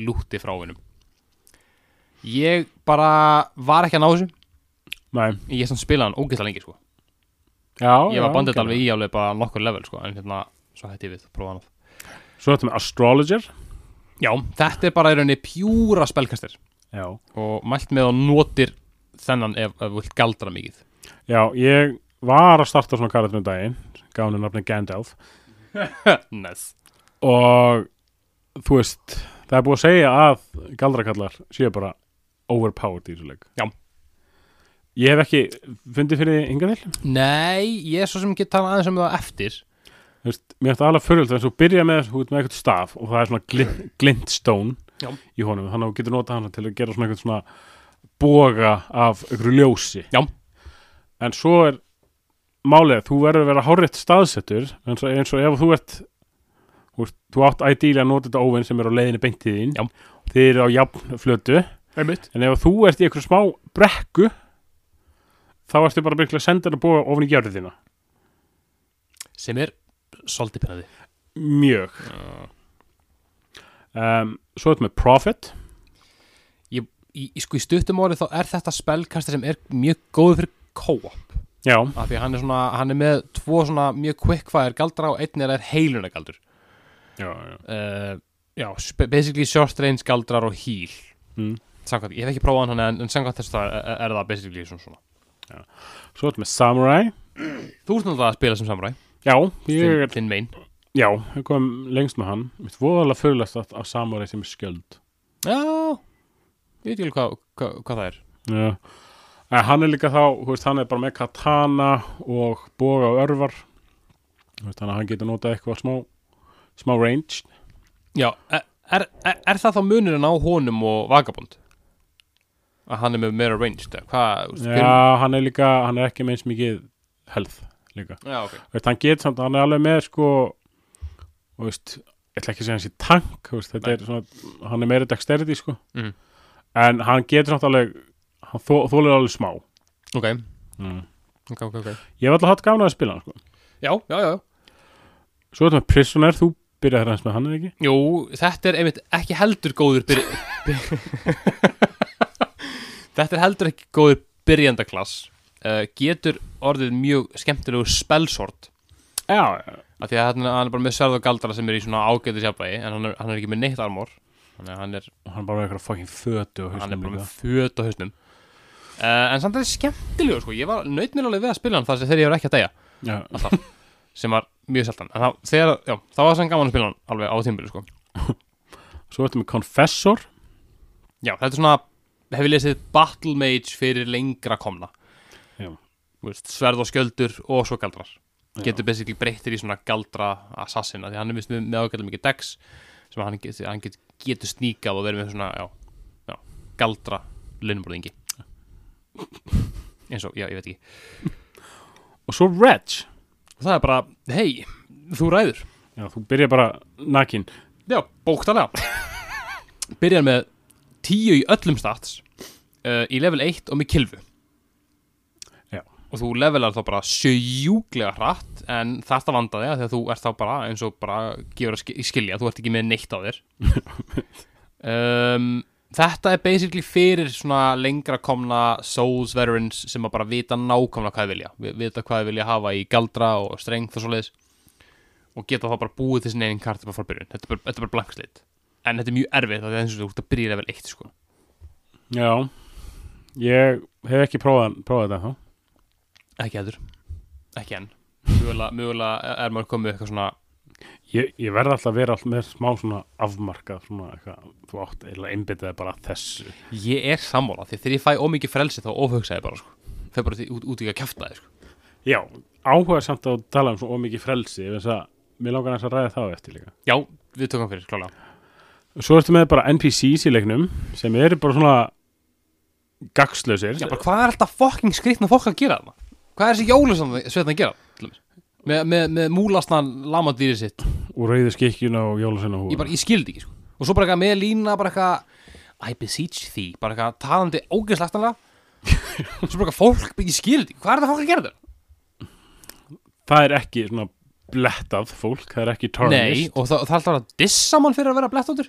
Speaker 1: lúti frá vinum ég bara var ekki að ná þessu
Speaker 2: nei
Speaker 1: ég samt spilaði hann ógeðslega lengi sko
Speaker 2: já,
Speaker 1: ég var bandið
Speaker 2: já,
Speaker 1: alveg í alveg bara nokkur level sko en hérna svo hætti ég við prófa hann
Speaker 2: svo er þetta með Astrologer
Speaker 1: já þetta er bara í rauninni pjúra spelkastir
Speaker 2: já,
Speaker 1: og mælt með að þú notir þennan ef, ef þú vilt galdra mikið
Speaker 2: já, ég var að starta svona karat um daginn gaf henni nafni Gandalf
Speaker 1: nice.
Speaker 2: og þú veist, það er búið að segja að galdrakallar séu bara overpowered í þessu leik
Speaker 1: Já.
Speaker 2: Ég hef ekki fundið fyrir því hingað til
Speaker 1: Nei, ég er svo sem ekki tala aðeins um það eftir
Speaker 2: Þú veist, Mér ætti alveg fyrir þess að byrja með, þú veist, með eitthvað staf og það er svona glint, glintstone
Speaker 1: Já.
Speaker 2: í honum, þannig að þú getur notað hann til að gera svona eitthvað svona boga af einhverju ljósi
Speaker 1: Já.
Speaker 2: En svo er málið, þú verður að vera hárétt staðsettur eins og, eins og ef þú ert þú, veist, þú átt ideally að nota þetta óvinn sem er á leiðinni beint í þín
Speaker 1: Já.
Speaker 2: Þið eru á jafn flötu
Speaker 1: Einmitt.
Speaker 2: En ef þú ert í einhverju smá brekku þá ertu bara byrjulega að senda hann að búa ofan í gjörðina
Speaker 1: sem er svolítið pennaði
Speaker 2: Mjög um, Svo ertu með Profit
Speaker 1: í, í, sko, í stuttum orðið þá er þetta spellkasta sem er mjög góð fyrir co-op
Speaker 2: Já,
Speaker 1: af því að hann er, svona, hann er með tvo svona mjög quickfire galdra og einn er heiluna galdur
Speaker 2: já, já.
Speaker 1: uh, já, sp- basically short range galdrar og heal
Speaker 2: Mm.
Speaker 1: samkvæmt, ég hef ekki prófað hann en, en samkvæmt þess að er, er það basically svona, svona.
Speaker 2: Svo ertu með Samurai
Speaker 1: þú ert náttúrulega að spila sem samræ
Speaker 2: Já, ég
Speaker 1: þinn, þinn mein
Speaker 2: Já, ég kom lengst með hann Mér voðalega fyrirlegt að, að Samurai sem er skjöld
Speaker 1: já, ég veit ekki alveg hvað, hvað, hvað það er
Speaker 2: Já En hann er líka þá, þú veist, hann er bara með katana og boga og örvar Þú veist, þannig að hann getur notað eitthvað smá smá range
Speaker 1: já, er, er, er- er það þá munurinn á honum og vagabond að hann er með meira ranged eða hvað, þú veist, hver-
Speaker 2: Já, hann er líka, hann er ekki meins mikið health líka
Speaker 1: já, ok
Speaker 2: Þú veist, hann getur samt, hann er alveg með sko þú veist, ég ætla ekki að segja hans í tank, þú veist, þetta
Speaker 1: Nei.
Speaker 2: er svona hann er meira dexterity sko
Speaker 1: Mhm.
Speaker 2: en hann getur samt alveg hann þó, þólir alveg smá
Speaker 1: Ok,
Speaker 2: mm.
Speaker 1: ok, ok, ok
Speaker 2: Ég hef alltaf hatt gafna að spila hann sko
Speaker 1: Já, já, já
Speaker 2: Svo þetta með Prisoner, þú byrjaði hans með hann eða ekki
Speaker 1: Jú, þetta er einmitt ekki heldur góður byr... byr- Þetta er heldur ekki góður byrjandaklass uh, Getur orðið mjög skemmtilegu spelsort
Speaker 2: Já, já,
Speaker 1: af því að hann, hann er bara með sverð og galdra sem er í svona ágæti sjafnægi en hann er, hann er ekki með neitt armor þannig að hann er,
Speaker 2: og hann er bara með eitthvað fucking fötu og
Speaker 1: hann er
Speaker 2: hausnum
Speaker 1: bara
Speaker 2: líka
Speaker 1: með föt á hausnum uh, En samt er þetta skemmtilegu sko Ég var naut mér alveg við að spila hann þar sem þegar ég var ekki að deyja
Speaker 2: Já,
Speaker 1: sem var mjög seltan en það, þegar, já, það var sann gaman að spila hann alveg á tímbili sko
Speaker 2: Svo þetta með Confessor
Speaker 1: Já, þetta er svona, hef ég lesið Battle Mage fyrir lengra komna
Speaker 2: Já.
Speaker 1: Þú veist, Sverð og skjöldur og svo galdrar
Speaker 2: Já.
Speaker 1: Getur basically breyttir í svona galdra assassina Því hann er vist með, með ágæðlega mikið dex sem hann, get, hann get, getur sníkað og verið með svona, já, já galdra launumorðingi eins og, já, ég veit ekki
Speaker 2: og svo Reg
Speaker 1: Og það er bara, hei, þú ræður
Speaker 2: Já, þú byrja bara nakin
Speaker 1: Já, bóktalega Byrjar með tíu í öllum stats uh, í level 1 og með kilfu
Speaker 2: Já.
Speaker 1: Og þú levelar þá bara sjöjúglega hratt en þetta vandaði að því að þú ert þá bara eins og bara gefur að sk- skilja þú ert ekki með neitt á þér um, Þetta er basically fyrir svona lengra komna Souls veterans sem að bara vita nákvæmlega hvað þið vilja Vi- vita hvað þið vilja hafa í galdra og strength og svoleiðis og geta þá bara búið þessin einin karti bara frá byrjun þetta er bara, þetta er bara blankslit en þetta er mjög erfið það er eins og þú ert að byrja í level 1 sko.
Speaker 2: Já, ég hef ekki prófað, prófað þetta þá
Speaker 1: ekki heldur, ekki enn mjögulega, mjögulega er maður komið með eitthvað svona
Speaker 2: Ég, ég verð alltaf að vera alltaf með smá svona afmarkað svona eitthvað, þú átt eða einbyttaði bara að þessu.
Speaker 1: ég er sammála því þegar ég fæ ómikið frelsi þá ofhugsa ég bara sko. fer bara til- út, út í að kjafta þið sko.
Speaker 2: Já, áhuga samt að tala um svona ómikið frelsi, ef þess að mér langar aðeins að ræða það á eftir líka.
Speaker 1: já, við tökum fyrir, klálega
Speaker 2: Svo ertu með bara NPCs í leiknum sem eru bara svona gagslausir.
Speaker 1: já, bara, hvað er alltaf fokking skrýtna fólk að gera það hvað er þessi jólusveitn að gera til dæmis? með, með, með múlastan lamadýri sitt
Speaker 2: Og rauðu skikkjuna og jólasveina húfa.
Speaker 1: ég bara, ég skildi ekki sko. og svo bara eitthvað með lína bara eitthvað I beseech því, bara eitthvað talandi ógeðslagtanlega svo bara eitthvað fólk, ég skildi ekki hvað er það fólk að gera þetta?
Speaker 2: Það er ekki svona blettað fólk, það er ekki tarnished.
Speaker 1: Nei, og það, það er alltaf að dissa mann fyrir að vera blettóttur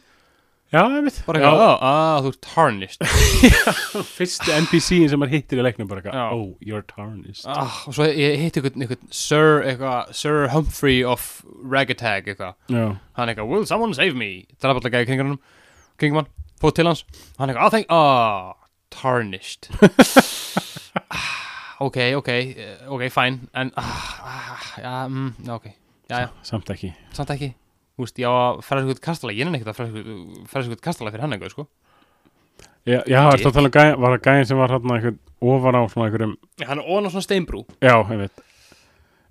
Speaker 2: Já, ég veit.
Speaker 1: bara eitthvað, að, að þú ert tarnished
Speaker 2: Fyrsti NPC-in sem maður hittir í leiknum bara
Speaker 1: Já.
Speaker 2: eitthvað, oh, you're tarnished.
Speaker 1: ah, og svo ég hitti einhvern, einhvern Sir, eitthvað, Sir Humphrey of Ragatag eitthvað,
Speaker 2: Já.
Speaker 1: hann eitthvað will someone save me, drafallega gæði kringunum kringum hann fór til hans hann eitthvað, að þeng, að tarnished Ah, ok, ok, eh, ok, fine en, ah, ah, já, mm, já, ok já, já,
Speaker 2: samt ekki
Speaker 1: samt ekki þú veist, já, ferðast ykkur kastala ég nenni ekkert að ferðast ykkur kastala fyrir hann eitthvað, sko
Speaker 2: Já, já ertu að tala um gæðin, var það gæðin sem var hérna einhvern ofan á svona einhverjum
Speaker 1: hann er ofan á svona steinbrú
Speaker 2: Já, ég veit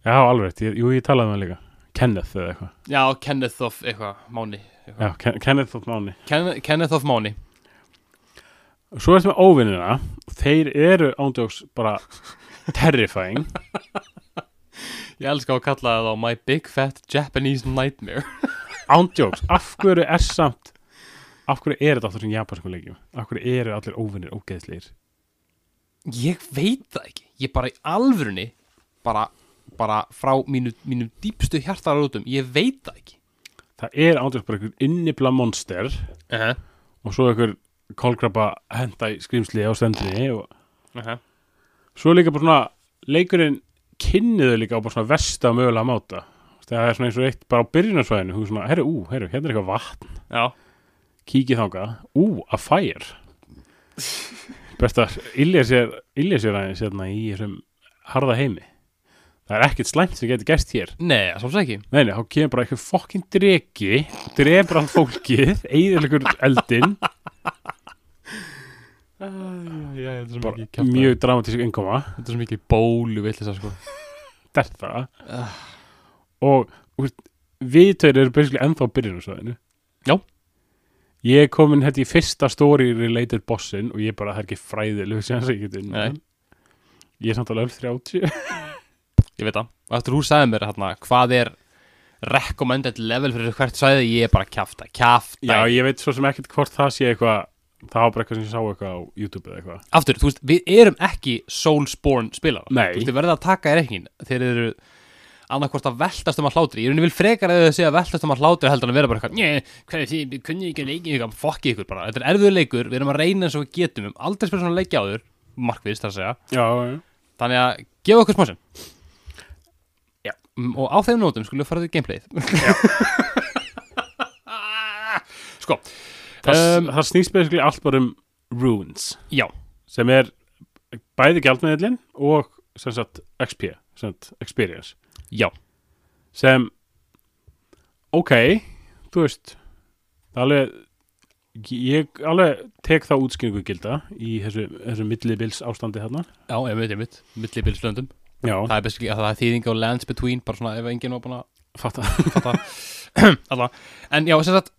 Speaker 2: Já, alveg, rétt, ég, jú, ég talaði um það líka Kenneth eða eitthvað
Speaker 1: já, Kenneth of, eitthvað, Máni
Speaker 2: Já, Ken Kenneth og Máni
Speaker 1: Ken, Kenneth of Máni
Speaker 2: Svo ertu með óvinnina Þeir eru ándjóks bara terrifying
Speaker 1: ég elska að kalla það á My Big Fat Japanese Nightmare
Speaker 2: Ándjóks, af hverju er samt Af hverju er þetta aftur sem japansku leikjum Af hverju eru allir óvinnir ógeðslegir
Speaker 1: ég veit það ekki ég bara í alvörunni bara, bara frá mínu, mínu dýpstu hjartarótum, ég veit það ekki
Speaker 2: Það er ándjóks bara einhver innibla monster
Speaker 1: uh -huh.
Speaker 2: Og svo einhver kolkrabba henda í skrýmsli á stendinni og
Speaker 1: Uh -huh.
Speaker 2: svo er líka bara svona leikurinn kynniðu líka á bara svona vest að mögulega máta það er svona eins og eitt bara á byrjunarsvæðinu hún er svona, herru, ú, herru, hérna er eitthvað vatn
Speaker 1: já,
Speaker 2: kíkið þangað, ú, a fire best að illja sér, illja sér aðeins hérna í þessum harða heimi það er ekkert slæmt sem getur gerst hér
Speaker 1: nei, svo ekki
Speaker 2: Nei, nei, þá kemur bara eitthvað fokkin dregi drefur allt fólkið, eyðir ykkur eldin,
Speaker 1: já, já, þetta er
Speaker 2: bara mjög dramatísk innkoma
Speaker 1: þetta er svo mikið bólu vill þess að sko
Speaker 2: þetta er það og úr, við tveir eru basically ennþá byrjunarsvæðinu
Speaker 1: Já.
Speaker 2: ég er komin hérna í fyrsta story related bossin og ég bara það er ekki fræðileg sem ég get inn
Speaker 1: Nei.
Speaker 2: ég er samt alveg öll 30
Speaker 1: ég veit það, og eftir þú sagði mér hérna hvað er recommended level fyrir hvert sæði, ég er bara að kjafta kjafta,
Speaker 2: já ég veit svo sem ekkert hvort það sé eitthvað það var bara eitthvað sem ég sá eitthvað á YouTube eða eitthvað
Speaker 1: aftur, þú veist, við erum ekki Soulsborne spilar
Speaker 2: Nei.
Speaker 1: þú veist, við verðum að taka í reikin þeir eru annarkvort að veltast um að hlátri ég er unni vil frekar að þau segja veltast um að hlátri heldur en að vera bara eitthvað, njö, hvað er því, við kunni ekki að leiki eitthvað, fokki ykkur bara, þetta er erfiður leikur við erum að reyna eins og við getum, um aldrei spyrir svona leiki áður markvist þar að segja,
Speaker 2: já, já.
Speaker 1: þannig að gefa okkur smásinn já, mm, og á þeim nótum skulum við fara því gameplayið sko,
Speaker 2: Það,
Speaker 1: Um,
Speaker 2: það snýst basically allt bara um runes
Speaker 1: já
Speaker 2: sem er bæði gjaldmiðlin og sem sagt XP sem sagt experience
Speaker 1: já,
Speaker 2: sem ok, þú veist það er alveg ég alveg tek þá útskýringu gilda í þessu, þessu millibils ástandi þarna
Speaker 1: já, ég veit, ég veit, millibilslöndum
Speaker 2: já,
Speaker 1: það er beskri, það er þýðing á lands between bara svona ef enginn var búin að
Speaker 2: fatta
Speaker 1: fatta alla en já, sem sagt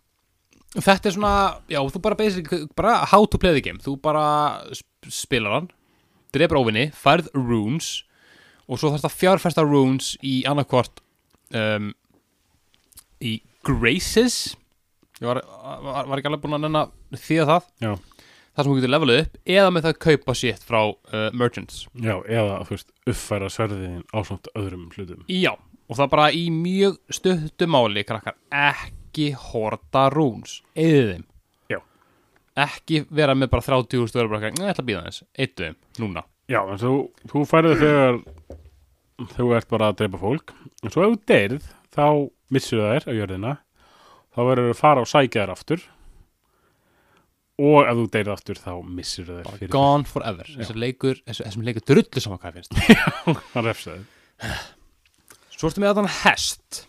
Speaker 1: þetta er svona, já, þú bara basic bara how to play the game, þú bara sp- spilar hann, drefur óvinni færð runes og svo þarfst að fjárfesta runes í annarkvort um, í graces ég var, var, var ekki alveg búin að nenna því að það
Speaker 2: já,
Speaker 1: þar sem þú getur levelið upp eða með það að kaupa sitt frá uh, merchants
Speaker 2: já, eða þú veist uppfæra sverðin á samt öðrum hlutum
Speaker 1: Já, og það bara í mjög stöttu máli, krakkar, ekki horta rúns, eða þeim.
Speaker 2: Já.
Speaker 1: Ekki vera með bara 30 stjóra bara, "Nei, ég ætla að býða þess, eittu þeim, núna.
Speaker 2: já, en þú, þú færið þegar þú ert bara að dreipa fólk en svo ef þú deyrð þá missur það þær á jörðina þá verður þú að fara og sækja þær aftur og ef þú deyrð aftur þá missur það
Speaker 1: Bara
Speaker 2: þær fyrir
Speaker 1: gone forever. Þessi leikur, þessi, þessum leikur drullu saman hvað finnst.
Speaker 2: hann refsaði
Speaker 1: Svo ertu með að hann hest,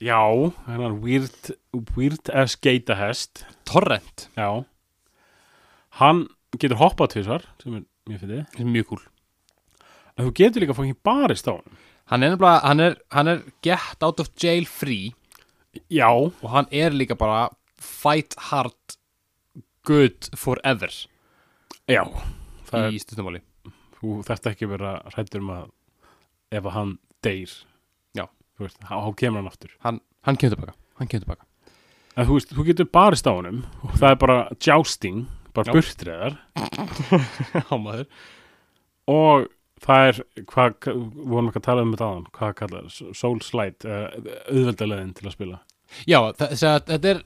Speaker 2: Já, hennar weird, weird as geitahest
Speaker 1: torrent,
Speaker 2: Já Hann getur hoppað tvisvar sem er mjög fyrir
Speaker 1: sem er mjög kúl.
Speaker 2: En þú getur líka fókin barist á hann
Speaker 1: Hann er nefnilega, hann er, hann er get out of jail free
Speaker 2: Já,
Speaker 1: og hann er líka bara fight hard good forever
Speaker 2: já Það
Speaker 1: í stuttumáli.
Speaker 2: Þú þarft ekki að vera hrættur um að ef að hann deyr
Speaker 1: Já.
Speaker 2: Þú veist, þá þá kemur hann aftur
Speaker 1: Hann, hann kemur tilbaka, hann kemur tilbaka.
Speaker 2: En þú veist, þú getur barist á honum og það er bara jousting bara
Speaker 1: Já.
Speaker 2: burtreðar
Speaker 1: Já, maður.
Speaker 2: og það er hvað, hvað- við vorum ekki að tala um þetta áðan hvað kallar, soul slide uh, auðveldalegin til að spila
Speaker 1: Já, þa- þess að þetta er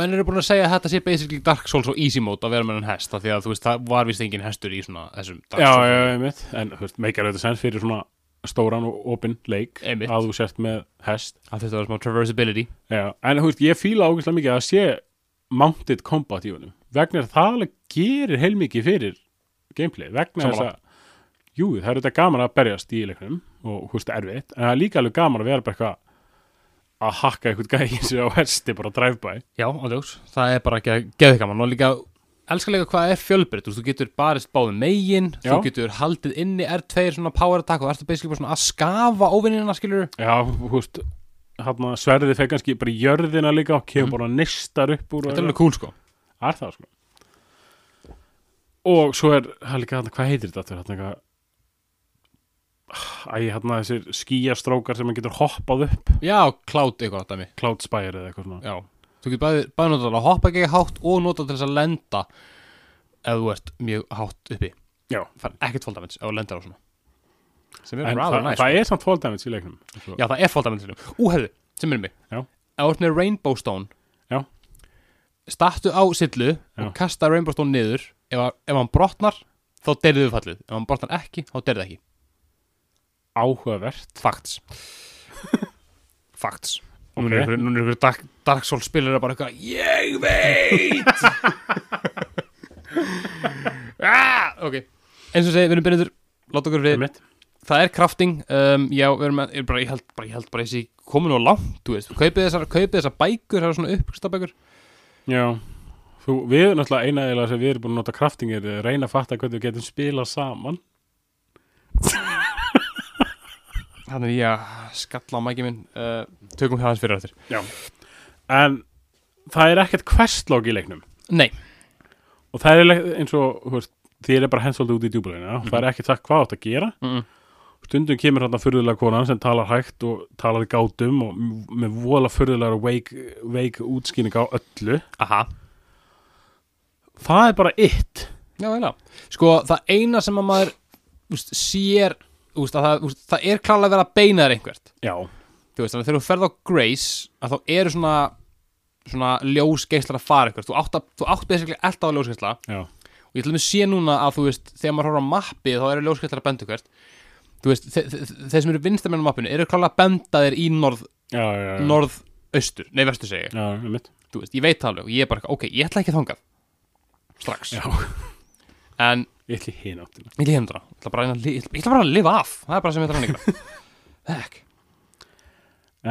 Speaker 1: menn eru búin að segja að þetta sé basically Dark Souls og easy mode að vera með hann hest af því að þú veist, það var vist engin hestur í svona þessum Dark
Speaker 2: já,
Speaker 1: Souls
Speaker 2: já, einmitt en þú veist, meikar auðvitað sens fyrir svona stóran og opinn leik
Speaker 1: Einmitt.
Speaker 2: að þú sért með hest
Speaker 1: að þetta var smá traversability
Speaker 2: já. en þú veist, ég fíla ákvæmstlega mikið að sé mounted combat í honum vegna þess að það alveg gerir heilmikið fyrir gameplay vegna þess
Speaker 1: Sammála.
Speaker 2: að jú, það er þetta gaman að berjast í leiknum og húst erfitt, en það er líka alveg gaman að vera bara eitthvað að hakka eitthvað gæðin sér á hesti bara að drive by
Speaker 1: Já, áljós, það er bara ekki að geða gaman og líka elskalega hvað er fjölbreytt, þú veist, þú getur barist báðum megin, þú
Speaker 2: Já.
Speaker 1: getur haldið inni R2 svona power attack og ertu basically bara svona að skafa óvinnina skilur
Speaker 2: já, húst, hann að sverðið fekk kannski bara í jörðina líka og kemur bara nistar upp úr
Speaker 1: Mhm.
Speaker 2: og
Speaker 1: Þetta er alveg cool sko
Speaker 2: er það sko og svo er það er líka hann, hvað heitir þetta aftur hann eitthvað æ, hann að þessir skýjastrókar sem hann getur hoppað upp
Speaker 1: Já, cloud eitthvað dæmi
Speaker 2: Cloud Spire eða eitthvað svona
Speaker 1: Já, þú getur bæði, bæði notað til að hoppa ekki hátt og notað til þess að lenda ef þú ert mjög hátt uppi
Speaker 2: já,
Speaker 1: Fær ekkert fall damage ef þú lendir á svona sem er
Speaker 2: en
Speaker 1: rather
Speaker 2: það,
Speaker 1: nice
Speaker 2: það er samt fall damage í leiknum svo.
Speaker 1: sko. Já, það er fall damage Ú, hefðu, sem er mig
Speaker 2: Já.
Speaker 1: Ef þú ert með Rainbow Stone
Speaker 2: Já.
Speaker 1: Startu á sillu
Speaker 2: Já.
Speaker 1: og kasta Rainbow Stone niður Ef, að- ef hann brotnar, þá deyrðu þú fallið Ef hann brotnar ekki, þá deyrðu ekki
Speaker 2: áhugavert
Speaker 1: Facts Facts okay.
Speaker 2: Ok.
Speaker 1: Núna er ykkur- núna er ykkur Dark, Dark Souls spilir bara eitthvað Ég veit ah, Ok Eins og segi, við erum byrjandur Láta okkur
Speaker 2: Það
Speaker 1: fyrir
Speaker 2: er mitt.
Speaker 1: það er crafting um, já, við erum að, ég, bara, ég held bara, ég held bara þessi komin og langt, þú veist, kaupið þessar, kaupið þessar bækur, það er svona uppstabækur
Speaker 2: já Þú, við náttúrulega eina einaðilega sem við erum búin að nota krafting er að reyna að fatta hvernig við getum spilað saman
Speaker 1: þannig er ég að skalla á mæki minn uh, tökum það hans fyrir áttir
Speaker 2: en það er ekkert questlog í leiknum
Speaker 1: nei,
Speaker 2: og það er eiginlega eins og þú veist, þér er bara hensoldi út í djúbulina mm það er ekki sagt hvað átt að gera
Speaker 1: Mhm.
Speaker 2: stundum kemur þarna furðulega konan sem talar hægt og talar í gátum og m- með vola furðulega veik, veik útskýning á öllu
Speaker 1: aha
Speaker 2: það er bara it
Speaker 1: já, veila, sko, það eina sem að maður úst, sér úst, að það, úst, það er klálega að vera beinaður einhvert
Speaker 2: já,
Speaker 1: þú veist, þannig að þegar þú ferð á Grace að þá eru svona svona ljósgeislar að fara eitthvað þú átt, að, þú átt basically alltaf að ljósgeisla
Speaker 2: já,
Speaker 1: og ég til dæmis sé núna að þú veist þegar maður horfður á mappið þá eru ljóskvættar að benda hvert þú veist, þe- þe- þe- þeir sem eru vinstamenn á mappinu eru klálega að benda þér í norð,
Speaker 2: já, já, já.
Speaker 1: norðaustur nei vestur segi ég,
Speaker 2: já, einmitt.
Speaker 1: þú veist, ég veit það alveg og ég er bara, ok, ég ætla ekki þangað strax,
Speaker 2: já.
Speaker 1: en
Speaker 2: ég ætli hinn áttina
Speaker 1: ég hérna lífum það, ég ætla bara að, li- ég ætla- ég ætla bara að lifa af það er bara sem ég ætla að reyna Heck.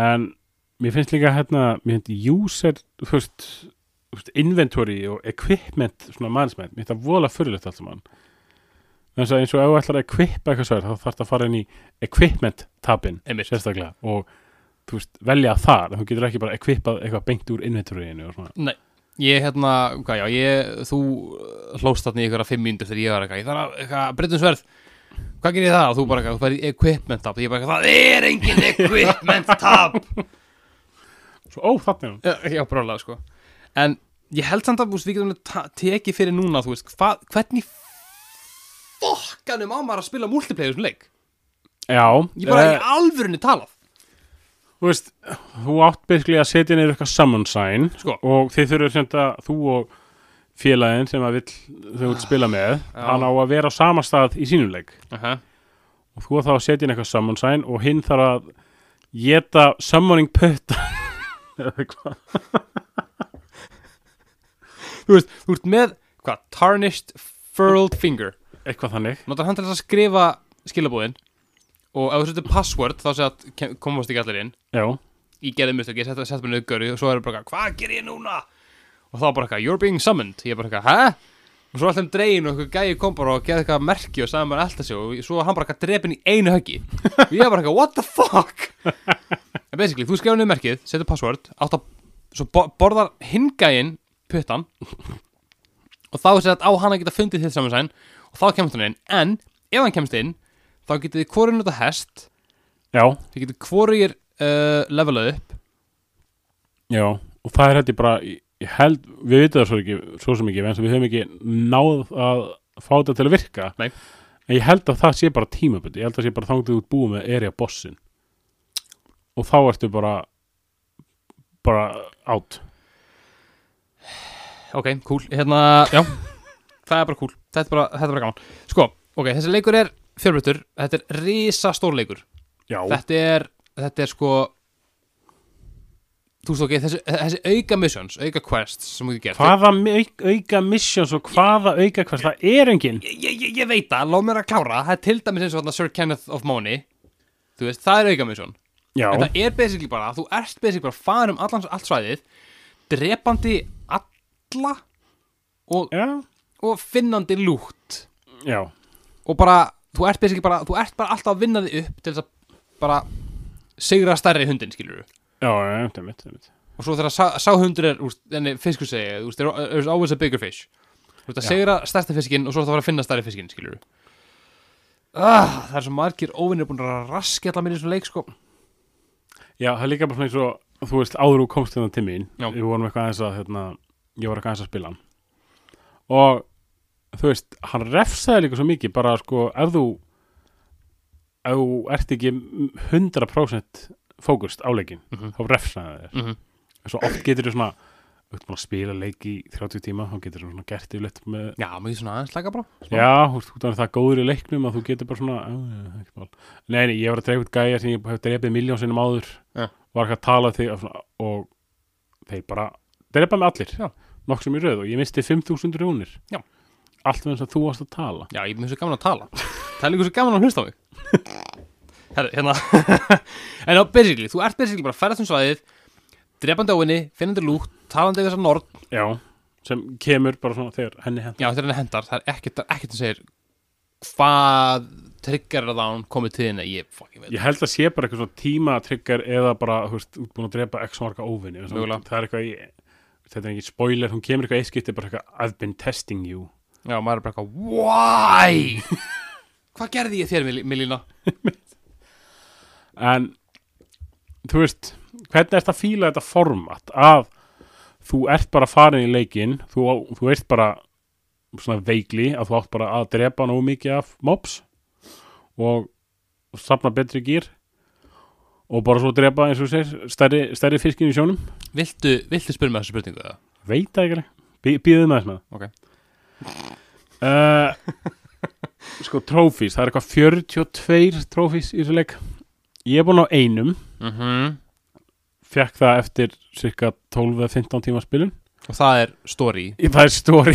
Speaker 2: en mér finnst líka hérna mér finnst user, þú veist þú veist, inventory og equipment svona mannsmenn, mér finnst það vola fyrirlegt allt saman eins og eins og ef þú ætlar að equipa eitthvað sverð, þá þarf það að fara inn í equipment tabin
Speaker 1: Einmitt.
Speaker 2: sérstaklega og þú veist, velja þar, þú getur ekki bara equipað eitthvað beint úr inventoryinu og svona
Speaker 1: Nei, ég hérna, hvað já, ég, þú uh, hlóst þarna í ykkur að fimm mínútur þegar ég var eitthvað, ég þarf að, eitthvað, breytum sverð, hvað gerir ég það? Og þú bara eitthvað, þú færi equipment tab, ég bara eitthvað, það er engin equipment tab.
Speaker 2: svo, ó, þarna er hún,
Speaker 1: Já, já, brálega, sko. En ég held samt að, þú veist, við getum alveg ta- tekið fyrir núna, þú veist, hvað, hvernig fokkanum á maður að spila multiplayer í þessum leik? Ég
Speaker 2: já
Speaker 1: bara,
Speaker 2: eh,
Speaker 1: í alvörunni talað.
Speaker 2: þú veist, þú átt byrkli að setja niður eitthvað summon sign
Speaker 1: Sko.
Speaker 2: og þið þurfum sem þetta, þú og félagin sem að vill, þau vill spila með hann á að vera á sama stað í sínum leik
Speaker 1: Uh -huh.
Speaker 2: og þú þá að setja inn eitthvað summon sign og hinn þarf að geta summoning putta eða eitthvað
Speaker 1: Þú veist, þú ert með, hvað, tarnished furled finger.
Speaker 2: eitthvað þannig
Speaker 1: notar hann til þess að skrifa skilabúðin og ef þú setur password þá sé að kem- komast ekki allir inn
Speaker 2: já,
Speaker 1: ég gerði mistök, ég setja set mér nöggur og svo er bara, eitthvað, hvað ger ég núna? og þá bara eitthvað, you're being summoned ég bara eitthvað, hæ? og svo alltaf um dregin og eitthvað gæi kom bara og gerði eitthvað merki og sagði maður alltaf sig og svo var hann bara eitthvað drepin í einu höggi og ég bara eitthvað, what the fuck? en basically, þú skrifur niður merkið, setur password átt að, svo bo borðar hingæin puttan og þá er sett á hann að geta fundið þitt samansæn og þá kemst hann inn, en ef hann kemst inn, þá getið þið hvorinn út að hest
Speaker 2: já,
Speaker 1: þið getið hvorir uh, levelað upp
Speaker 2: já og það er hætti bara, ég held við vitum það svo, ekki, svo sem ekki, en við höfum ekki náð að fá þetta til að virka
Speaker 1: Nei.
Speaker 2: en ég held að það sé bara tímabundi ég held að það sé bara þangtið út búið með erja bossin og þá ertu bara bara átt
Speaker 1: Ok, cool, hérna, já Það er bara cool, þetta er bara, þetta er bara gaman Sko, ok, þessi leikur er fjörbreyttur Þetta er risa stór leikur
Speaker 2: já,
Speaker 1: Þetta er, þetta er sko þú veist ok, þessi, þessi auka missions, auka quests sem þú getur gert
Speaker 2: Hvaða mi- auk- auka missions og hvaða auka hvers, það er engin
Speaker 1: ég, ég, ég- ég veit það, lág mér að klára það er til dæmis eins og þarna Sir Kenneth of Money þú veist, það er auka mission
Speaker 2: Já,
Speaker 1: en það er basically bara, þú ert basically bara farin um allan, allt svæðið drepandi alla og,
Speaker 2: já,
Speaker 1: og finnandi lútt
Speaker 2: já,
Speaker 1: og bara, þú ert basically bara þú ert bara alltaf að vinna þig upp til þess að bara sigra stærri hundin, skilur
Speaker 2: já, já, það er mitt, það er mitt
Speaker 1: og svo þegar sá, sá hundur er úr, enni, fiskur segja, þú veist, there- there's always a bigger fish þú veist að
Speaker 2: Já.
Speaker 1: segra stærsta fiskinn og svo þetta var að finna stærri fiskinn, skilur ah, það er svo margir óvinnir búin að raskja allar minni í svona leik, sko
Speaker 2: Já, það er líka bara svona eins og þú veist, áður úr komst þetta til mín
Speaker 1: Já.
Speaker 2: Við vorum eitthvað aðeins að, hérna, ég var eitthvað aðeins að spila hann Og, þú veist, hann refsaði líka svo mikið Bara, sko, ef þú Ef þú ert ekki 100% fókust á leikin
Speaker 1: Mhm.
Speaker 2: Þá refsaði þér
Speaker 1: mm -hmm.
Speaker 2: Svo oft getur þú svona Þú ert búin að spila leik í 30 tíma Þá getur þú svona gert yfirleitt með
Speaker 1: já, maður ekki svona aðeins slaka bara smá.
Speaker 2: Já, þú veist, þú er það góður í leiknum að þú getur bara svona "Já, já, ekkert mál." Nei, nei, ég var að drefa út gæja sem ég hef drefið miljón sinnum áður
Speaker 1: Já.
Speaker 2: var ekki að tala þig og, svona, og þeir bara drefa mig allir
Speaker 1: Já.
Speaker 2: nokk sem í röð og ég misti 5.000 rúnir
Speaker 1: Já.
Speaker 2: allt með þess að þú varst að tala
Speaker 1: já, ég er mér svo gaman að tala það er líka svo gaman að hlusta á mig Herri, hérna en á basically, þú ert basically bara að ferðast um svæðið drepandi óvinni, finnandi lútt talandi við þessar norn,
Speaker 2: Já, sem kemur bara svona þegar henni hent
Speaker 1: Já, þetta er henni hendar, það er ekkert, það er ekkert sem segir hvað trigger að hann komið til þinni, ég fucking veit
Speaker 2: Ég held að sé bara eitthvað svona tímatryggar eða bara, þú veist, út búin að drepa x marga óvinni og svona.
Speaker 1: Mögulega.
Speaker 2: það er eitthvað í þetta er ekki spoiler, hún kemur eitthvað eiskipti bara eitthvað I've been testing you
Speaker 1: Já, maður er bara eitthvað, why? hvað gerði ég þér, Mil- Milína?
Speaker 2: en þú veist, hvernig ert að fíla þetta format að þú ert bara farin í leikinn þú, þú veist bara svona veikli að þú átt bara að drepa nógu mikið af mobs og safna betri gýr og bara svo drepa eins og þú segir, stærri, stærri fiskin í sjónum
Speaker 1: Viltu, viltu spyrja mig þessu spurningu það?
Speaker 2: veit það ekki, Bí, býðum með þess með
Speaker 1: Ok.
Speaker 2: uh, sko trófís, það er eitthvað 42 trófís í þessu leik ég er búin á einum
Speaker 1: Mm -hmm.
Speaker 2: fekk það eftir cirka 12-15 tíma spilun
Speaker 1: Og það er story
Speaker 2: Í- það er stóri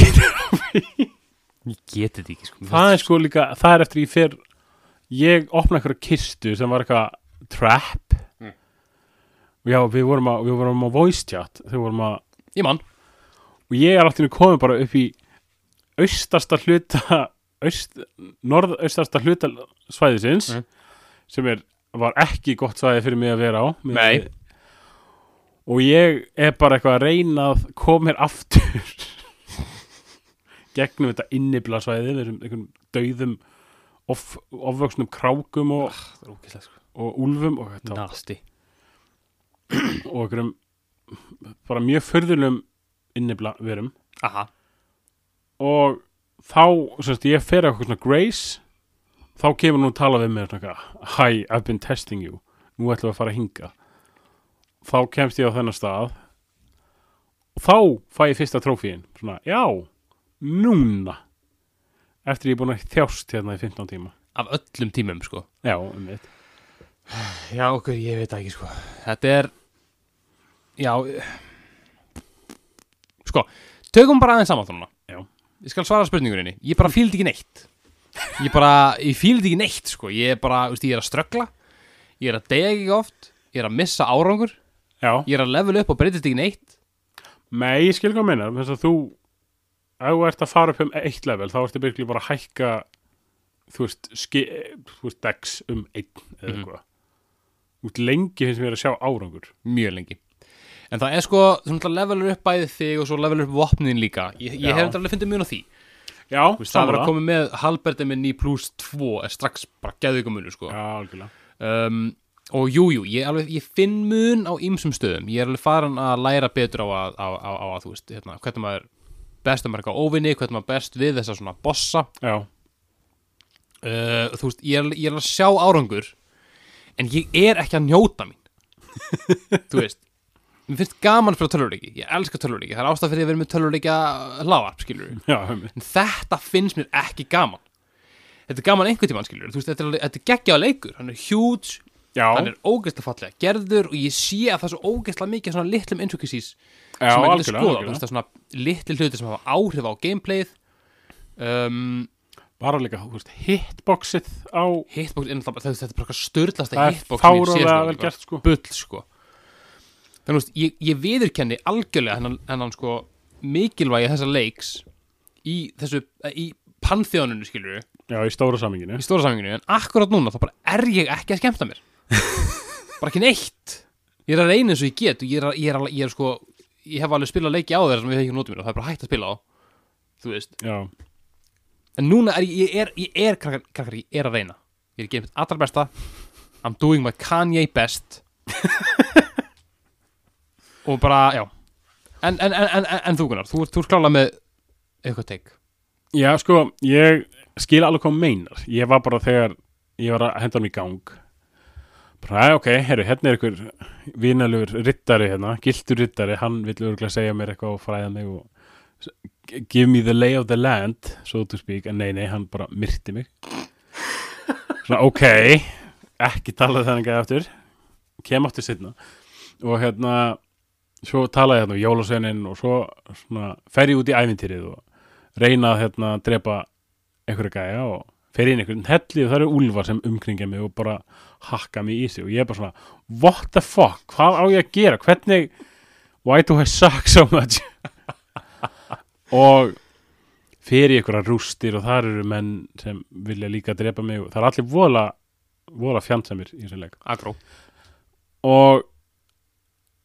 Speaker 1: Ég geti þetta ekki, sko
Speaker 2: það er sko líka, það er eftir ég fyrr ég opna eitthvað kistu sem var eitthvað trap
Speaker 1: Mm.
Speaker 2: og já, við vorum, að, við vorum á voice chat þegar við vorum að,
Speaker 1: Ég mann,
Speaker 2: og ég er alltaf komið bara upp í austasta hluta aust, norðaustasta hluta svæðisins
Speaker 1: Mm.
Speaker 2: sem er, var ekki gott svæði fyrir mig að vera á miðað
Speaker 1: Nei.
Speaker 2: við- og ég er bara eitthvað að reyna að koma mér aftur gegnum þetta innibla svæði þessum einhvern dauðum of, ofvöksnum krákum og,
Speaker 1: það er ókislega, sko
Speaker 2: og úlfum og, þetta,
Speaker 1: Nasty
Speaker 2: og einhverjum bara mjög förðulegum innibla verum
Speaker 1: Aha,
Speaker 2: og þá, semst, ég fer á eitthvað svona Grace þá kemur hún að tala við mig svona, eitthvað, hi, I've been testing you nú ætlum við að fara að hinga þá kemst ég á þennan stað og þá fæ ég fyrsta trófíin svona, já, núna eftir ég er búin að þjást hérna í 15 tíma
Speaker 1: af öllum tímum, sko
Speaker 2: já, um mitt
Speaker 1: Já, okkur, ég veit það ekki, sko Þetta er Já eh, Sko, tökum bara aðeins saman þarna
Speaker 2: Já.
Speaker 1: Ég skal svara spurningurinni Ég bara fíldi ekki neitt Ég bara, ég fíldi ekki neitt, sko Ég er bara, veist, ég er að ströggla Ég er að deyja ekki oft Ég er að missa árangur
Speaker 2: já,
Speaker 1: Ég er að level upp og breytist ekki neitt
Speaker 2: nei, ég skil hvað minna þess að þú, ef þú ert að fara upp um eitt level, þá ertu byrgli bara að hækka þú veist, ski, þú veist dex um einn eða
Speaker 1: Mhm.
Speaker 2: eitthvað út lengi finnst mér að sjá árangur
Speaker 1: Mjög lengi En það er sko, þú náttúrulega levelur upp bæðið þig og svo levelur upp vopnin líka Ég,
Speaker 2: Já.
Speaker 1: ég hef þetta alveg fundið mjög á því
Speaker 2: já,
Speaker 1: Þú veist, Það var að koma með Halberti með 9 plus 2 er strax bara geðveikumunu sko
Speaker 2: já, algjörlega
Speaker 1: um, og jú, jú, ég, alveg, ég finn mun á ýmsum stöðum, ég er alveg farin að læra betur á að, á, á, á að þú veist hérna, hvernig maður best að marka óvinni hvernig maður best við þessa svona bossa
Speaker 2: já,
Speaker 1: uh, þú veist, ég er, ég er að sjá árangur en ég er ekki að njóta mín þú veist mér finnst gaman fyrir tölvuleiki, ég elska tölvuleiki það er ástæð fyrir að vera með tölvuleikja hlávarp skilur
Speaker 2: já, um
Speaker 1: en þetta finnst mér ekki gaman þetta er gaman einhvern tímann skilur þú veist, þetta er, alveg- þetta er geggjaða leikur hann er huge
Speaker 2: Já,
Speaker 1: hann er ógeðslega fallega gerður og ég sé að það er svo ógeðslega mikið svona litlum intricacies
Speaker 2: já
Speaker 1: sem maður
Speaker 2: algjörlega,
Speaker 1: getur skoða, þú
Speaker 2: algjörlega.
Speaker 1: veist það er svona litli hluti sem hafa áhrif á gameplayið um,
Speaker 2: Bara líka, þú veist, hitboxið á
Speaker 1: hitbox, er náttúrulega- þetta er bara eitthvað störðlasta
Speaker 2: Það er
Speaker 1: hitbox sem ég sé sko,
Speaker 2: fáralega vel
Speaker 1: líka.
Speaker 2: gert sko
Speaker 1: bull sko þannig að ég, ég viðurkenni algjörlega hennan, hennan sko mikilvægi þessa leiks í þessu, í panþjónunu skilur við,
Speaker 2: Já, í stóra saminginu
Speaker 1: í stóra saminginu en akkurat núna þá bara er ég ekki að skemmta mér bara ekki neitt ég er að reyna eins og ég get og ég er, að- ég er, að- ég er sko, ég hef alveg spilað leiki á þeir sem ég hef ekki notið mér og það er bara hægt að spila á þú veist,
Speaker 2: Já,
Speaker 1: en núna er ég, ég er, ég er krakkar, krakkar, ég er að reyna ég er að gera mitt allra besta I'm doing my Kanye best og bara, já en, en, en, en, en, en þú Gunnar, þú, ert- þú ert klála með eitthvað teik
Speaker 2: já sko, ég skil alveg hvað hún meinar Ég var bara þegar, ég var að henda hann í gang Bara, "Æ, ok, herru, hérna er einhver vinalur rittari hérna, giltur rittari Hann vill örgulega segja mér eitthvað og fræða mig og s- g- Give me the lay of the land, so to speak En nei, nei, hann bara myrti mig Svona, ok, ekki tala þennan gæði aftur Kem aftur sinna Og hérna, svo talaði ég hérna um jólasveinin og svo svona, fer ég út í ævintýrið og reyna að hérna, drepa einhverja gæja og fer inn einhverjum helli og það eru úlfar sem umkringja mig og bara hakka mig í sig og ég er bara svona what the fuck, hvað á ég að gera hvernig, why do I suck so much og fer ég einhverja rústir og þar eru menn sem vilja líka drepa mig og það er allir vola vola fjandsamir í þessu leik
Speaker 1: Agró
Speaker 2: og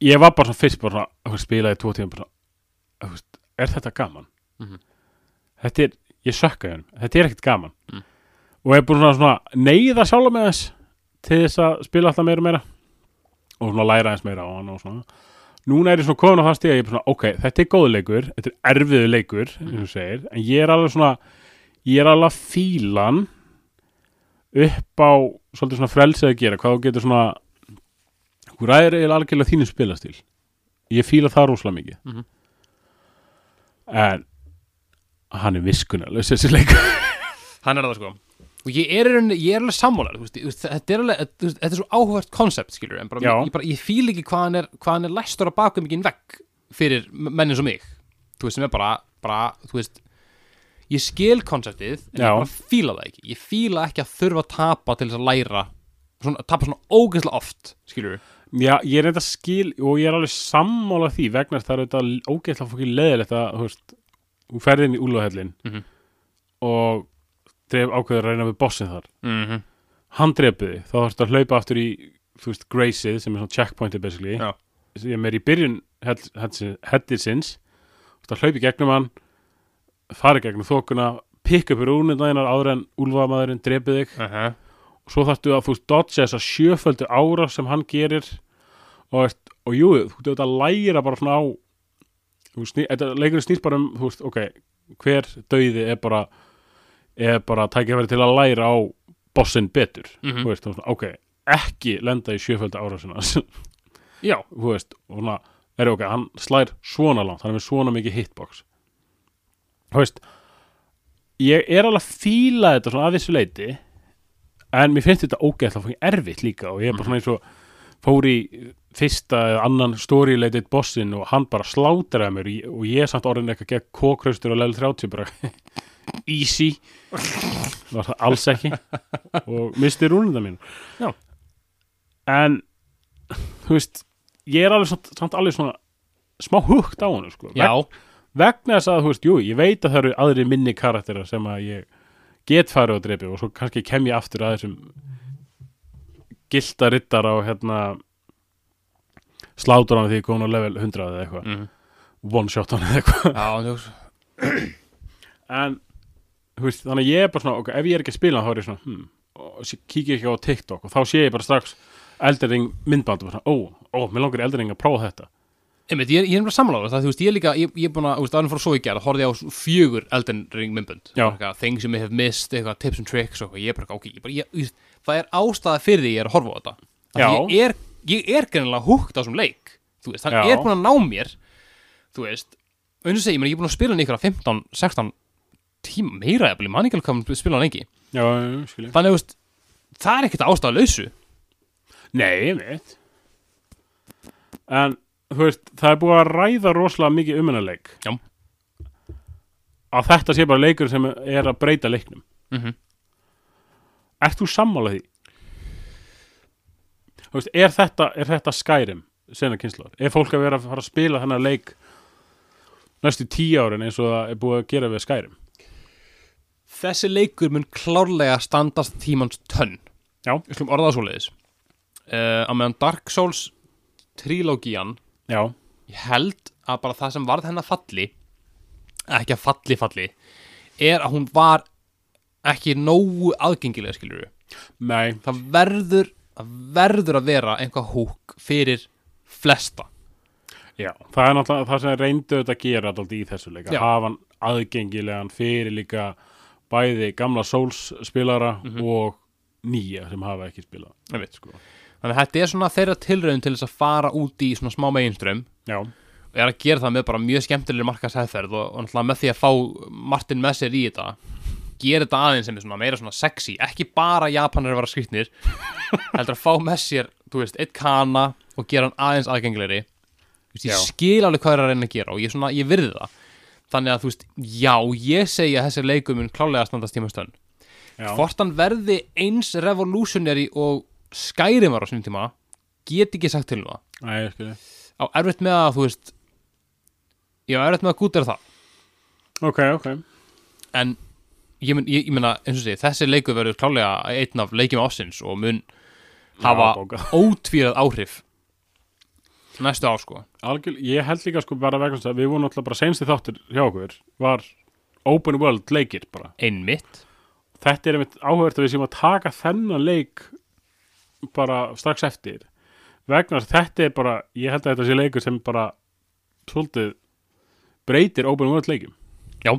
Speaker 2: ég var bara svona fyrst bara svona, þú veist, spilaði tvo tíma bara, svona, þú veist, er þetta gaman?
Speaker 1: Mhm.
Speaker 2: Þetta er, ég sökka hérna, þetta er ekkert gaman
Speaker 1: Mm.
Speaker 2: og ég er búin svona, svona neyða sjálf með þess til þess að spila alltaf meira og meira og svona læra eins meira á hann og svona núna er ég svona komin á það stíð að ég er bara svona, ok, þetta er góð leikur, þetta er erfiðu leikur eins og
Speaker 1: Mm.
Speaker 2: þú segir, en ég er alveg svona ég er alveg að fíla hann upp á svolítið svona frelsið að gera, hvað þú getur svona Þú ræðir eiginlega algjörlega þínum spilastil Ég fíla það rosalega mikið
Speaker 1: Mhm.
Speaker 2: En Hann er viskunarlaus þessi leikur
Speaker 1: Hann er það sko Og ég er, í rauninni- ég er alveg sammálar veist, þú veist, þetta, er alveg, þú veist, þetta er svo áhugavert koncept skilur en bara,
Speaker 2: Já.
Speaker 1: ég, bara, ég fíl ekki hvað hann er, hvað hann er læstur á bakum mikið vekk fyrir mennin svo mig þú veist sem er bara, bara þú veist ég skil konceptið en
Speaker 2: Já.
Speaker 1: ég bara fíla það ekki ég fíla ekki að þurfa að tapa til þess að læra svona, tapa svona ógeðslega oft skilur
Speaker 2: Já, ég er þetta skil og ég er alveg sammála því vegna þess að það er þetta ógeðslega fókið leðilegt að þú veist, þú ferð inn í úlfahellin
Speaker 1: Mhm.
Speaker 2: og dref ákveður að reyna við bossin þar
Speaker 1: mm -hmm.
Speaker 2: hann drepiði, þá þarfst að hlaupa aftur í þú veist, Graceið sem er svona checkpointið basically,
Speaker 1: Já.
Speaker 2: sem er í byrjun headisins þú þarfst að hlaupa í gegnum hann fara í gegnum þókuna, pikka upp úr úrnindæðinar áður en úlfamaðurinn drepið þig
Speaker 1: uh -huh.
Speaker 2: og svo þarftu að þú veist, dodge þessa sjöföldu ára sem hann gerir og, veist, og jú, þú veist að læra bara svona á þú veist, sný- þetta leikurinn snýst bara um þú veist, ok, hver dauði er bara er bara tækifæri til að læra á bossinn betur
Speaker 1: Mhm.
Speaker 2: þú veist, og svona, ok, ekki lenda í sjöföldu ára sinna þú
Speaker 1: já,
Speaker 2: veist, og svona er ok, hann slær svona langt, hann er með svona mikið hitbox þú veist ég er alveg að fíla þetta svona að þessu leiti en mér finnst þetta ógeðslega fókin erfitt líka og ég er bara svona
Speaker 1: Mhm.
Speaker 2: eins og fór í fyrsta eða annan story leitit bossin og hann bara slátraði mér í- og ég er samt orðin eitthvað gegn kókraustur og level 30 bara easy var það alls ekki og misti rúnunda mín
Speaker 1: Já.
Speaker 2: en þú veist ég er alveg samt, samt alveg svona smá hugt á hann sko.
Speaker 1: já,
Speaker 2: vegna þess að þú veist, jú, ég veit að það eru aðri minni karakterar sem að ég get farið og drepi og svo kannski kem ég aftur að þessum gilda rittar á hérna slátur hann því ég komin á level 100 eða eitthvað,
Speaker 1: Mhm.
Speaker 2: one shot hann eða eitthvað
Speaker 1: já þú veist,
Speaker 2: en þú veist, þannig að ég er bara svona ok, ef ég er ekki að spila þá er ég svona hmm, og sé- kíkja ekki á TikTok og þá sé ég bara strax eldering myndband og bara svona, ó, ó, mér langar eldering að prófa þetta
Speaker 1: Einmitt, ég, er- ég er bara samláður það, þú veist, ég er líka, ég, ég er búin að, þú veist, aðeins fór að svo í gerð, horfði ég á fjögur Elden Ring myndbönd,
Speaker 2: Já.
Speaker 1: Eitthvað, things you may have missed, eitthvað, tips and tricks og eitthvað, ég er bara, ok, ég bara, ég, ég, veist, það er ástæða fyrir því ég er að horfa á þetta, Af því
Speaker 2: Já.
Speaker 1: ég er, ég er greinilega húkt á þessum leik, þú veist, hann
Speaker 2: Já.
Speaker 1: er búin að ná mér, þú veist, og eins og segi, ég meina, ég er búin að spila hann í ykkur 15, 16 tíma, meira, ég man ekki alveg hvað maður spila hann lengi,
Speaker 2: já, skilja
Speaker 1: þannig, þú veist, það er ekkert ástæða lausu,
Speaker 2: Nei, ég veit En, þú veist, það er búið að ræða rosalega mikið um hennar leik
Speaker 1: Já.
Speaker 2: Að þetta sé bara leikur sem er að breyta leiknum
Speaker 1: mm -hmm.
Speaker 2: Ert þú sammála því? Þú veist, er þetta, er þetta skærim sena kynslar? Er fólk að vera að fara að spila hennar leik næstu tíu árin eins og það er búið að gera við skærim?
Speaker 1: Þessi leikur mun klárlega standast tímans tönn
Speaker 2: Já.
Speaker 1: Við slum orðaða svoleiðis uh, Á meðan Dark Souls trilógían
Speaker 2: Já,
Speaker 1: Ég held að bara það sem varð hennar falli Ekki að falli falli Er að hún var ekki nógu aðgengilega skilur við
Speaker 2: nei,
Speaker 1: Það verður, það verður að vera einhvað húk fyrir flesta
Speaker 2: Já, það er náttúrulega það sem reyndu þetta að gera alltaf í þessu leika,
Speaker 1: Já.
Speaker 2: hafa hann aðgengilegan fyrir líka bæði gamla Souls spilara og nýja sem hafa ekki spilað
Speaker 1: Ég veit sko Þannig að þetta er svona þeirra tilraun til þess að fara út í svona smá meginströmm
Speaker 2: Já,
Speaker 1: og er að gera það með bara mjög skemmtilegri markasæðferð og, og náttúrulega með því að fá Martin með sér í þetta gera þetta aðeins sem er svona meira svona sexy ekki bara Japanar að vera skrýtnir heldur að fá með sér, þú veist, eitt kana og gera hann aðeins aðgengilegri Þú veist,
Speaker 2: Já.
Speaker 1: ég skil alveg hvað er að reyna að gera og ég, svona, ég virði það þannig að þú veist, já, ég segi að þessi leikum mun klálega að standast tímastönd
Speaker 2: já,
Speaker 1: hvort hann verði eins revolutionary og Skyrim var á sinni tíma get ekki sagt til um það
Speaker 2: Nei, ég skilji
Speaker 1: á erfitt með að þú veist ég á erfitt með að gútera það
Speaker 2: Ok, ok,
Speaker 1: en ég, mun, ég, ég meina eins og sé, þessi leiku verður klálega einn af leikjum ásins og mun hafa
Speaker 2: bókað.
Speaker 1: ótvírað áhrif næstu á sko
Speaker 2: Algjör, ég held líka sko bara vegna þess að við vorum alltaf bara seinsti þáttur hjá okkur var open world leikir bara
Speaker 1: einmitt
Speaker 2: Þetta er einmitt áhverð að við séum að taka þennan leik bara strax eftir vegna þess að þetta er bara, ég held að þetta sé leikur sem bara svolítið breytir open world leikum
Speaker 1: já,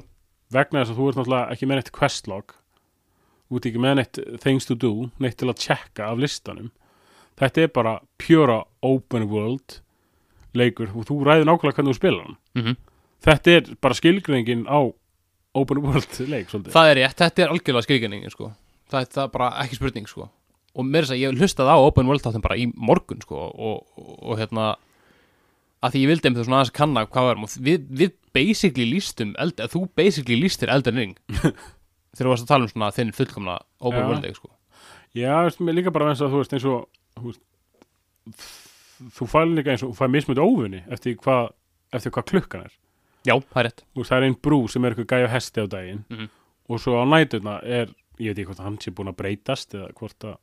Speaker 2: vegna þess að þú ert náttúrulega ekki með neitt questlog þú ert ekki með neitt things to do neitt til að tjekka af listanum þetta er bara pjöra open world leikur og þú ræður nákvæmlega hvernig þú spilar hann
Speaker 1: Mhm.
Speaker 2: þetta er bara skilgreiningin á open world leik svolítið
Speaker 1: það er rétt, þetta er algjörlega skriðgjörningin sko það, það er bara ekki spurning sko og mér þess að segja, ég hlustaði á Open World þáttum bara í morgun sko og, og, og hérna að því ég vildi einhvern svona aðeins kanna hvað varum og við, við basically lístum eld, eða þú basically lístir Elden Ring þegar þú varst að tala um svona þinn fullkomna Open
Speaker 2: Já.
Speaker 1: World leik sko
Speaker 2: já, veist, mér líka bara eins og þú veist eins og þú, veist, þú fær líka eins og þú fær mismönd ófunni eftir hvað eftir hvað klukkan er
Speaker 1: já, það er rétt
Speaker 2: Þú veist, það er einn brú sem er eitthvað gæja á hesti á daginn
Speaker 1: Mhm.
Speaker 2: og svo á næturna er ég veit ekki hvort hann sé búin að breytast eða hvort að,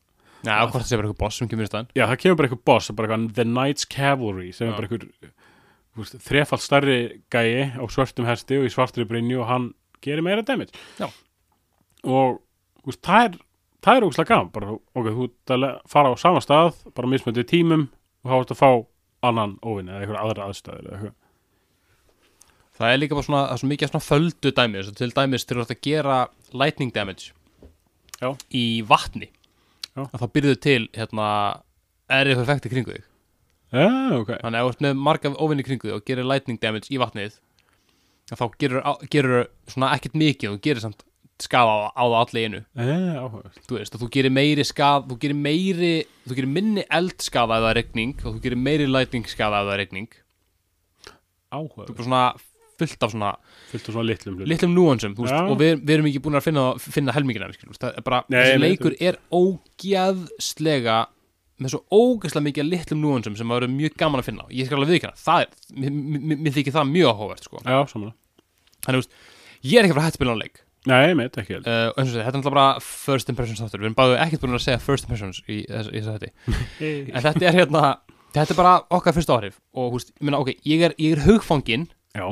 Speaker 1: já, hvort það sé bara eitthvað boss sem kemur í staðinn
Speaker 2: já það kemur bara eitthvað boss bara eitthvað The Knights Cavalry sem
Speaker 1: Já.
Speaker 2: er bara eitthvað þú veist, þrefald stærri gæji á svörtum hesti og í svartri brinju og hann gerir meira damage
Speaker 1: Já.
Speaker 2: og þú veist, það er það er ógustlega gaman bara, ok, þú ert að le- fara á sama stað bara mismöndið tímum og þá ertu að fá annan óvinni eða eitthvað aðra aðstæður eða eitthvað
Speaker 1: það er líka bara svona, það er svo mikið af svona földu dæmi þess að til dæmis til að gera lightning damage
Speaker 2: Já.
Speaker 1: í vatni
Speaker 2: Já.
Speaker 1: að það byrðu til hérna erið perfekti kringu þig
Speaker 2: Já, ok,
Speaker 1: Þannig að ef þú ert með marga óvinni kringu þig og gerir lightning damage í vatnið að þá gerur, á- gerur svona ekkert mikið þú gerir samt skafa á, á það allir einu
Speaker 2: Já, áhugavert.
Speaker 1: þú veist, að þú gerir meiri skaf þú gerir meiri, þú gerir minni eldskafa ef það er regning og þú gerir meiri lightning skafa ef það er regning þú
Speaker 2: áhugavert.
Speaker 1: er bara svona fullt af svona
Speaker 2: fullt af svona litlum hlutum
Speaker 1: litlum núansum, þú veist,
Speaker 2: Já.
Speaker 1: og við, við erum ekki búin að finna, finna helmingina, við skiljum, það er bara
Speaker 2: Nei,
Speaker 1: þessi
Speaker 2: nei,
Speaker 1: leikur er ógeðslega með svo ógeðslega mikið af litlum núansum sem það eru mjög gaman að finna ég skal alveg viðkjanna, það er, mér- mér mér- mér þykir það mjög áhugavert, sko,
Speaker 2: Já, samanlega
Speaker 1: þannig, þú veist ég er ekki að fara að hætt spila á leik,
Speaker 2: Nei, mitt ekki heldur
Speaker 1: uh, og eins og þetta, þetta er alltaf bara first impressions þáttur, við erum báðu ekkert búin að segja first impressions í þess að þetta en þetta er hérna, þetta er bara okkar fyrsta áhrif og, þú veist, ég meina, ok, ég er, ég er hugfangin
Speaker 2: Já,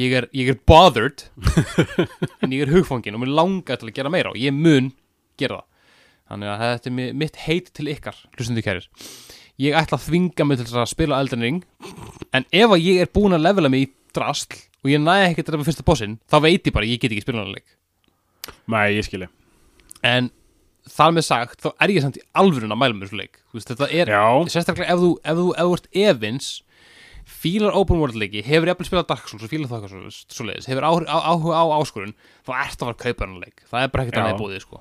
Speaker 1: ég er, ég er bothered en ég er hugfangin og mér langar til að gera meira og ég mun gera það þannig að þetta er mi- mitt heit til ykkar hlustundu kærir ég ætla að þvinga mig til þess að spila Elden Ring en ef að ég er búin að levela mig í drasl og ég næði ekki að drepa fyrsta bossin þá veit ég bara að ég get ekki spila hann leik
Speaker 2: nei, ég skilji
Speaker 1: en þar með sagt þá er ég samt í alvörun að mæla mér svo leik Þú veist, þetta er,
Speaker 2: Já,
Speaker 1: sérstaklega ef þú, ef þú, ef þú ert efins fílar open world leiki, hefur jafnvel spilað Dark Souls og fílar það eitthvað svoleiðis- svoleiðis, hefur áhuga á, áhuga á áskorun þá sko. ertu að fara að kaupa hennar leik það er bara ekkert
Speaker 2: Já.
Speaker 1: annað í búið sko.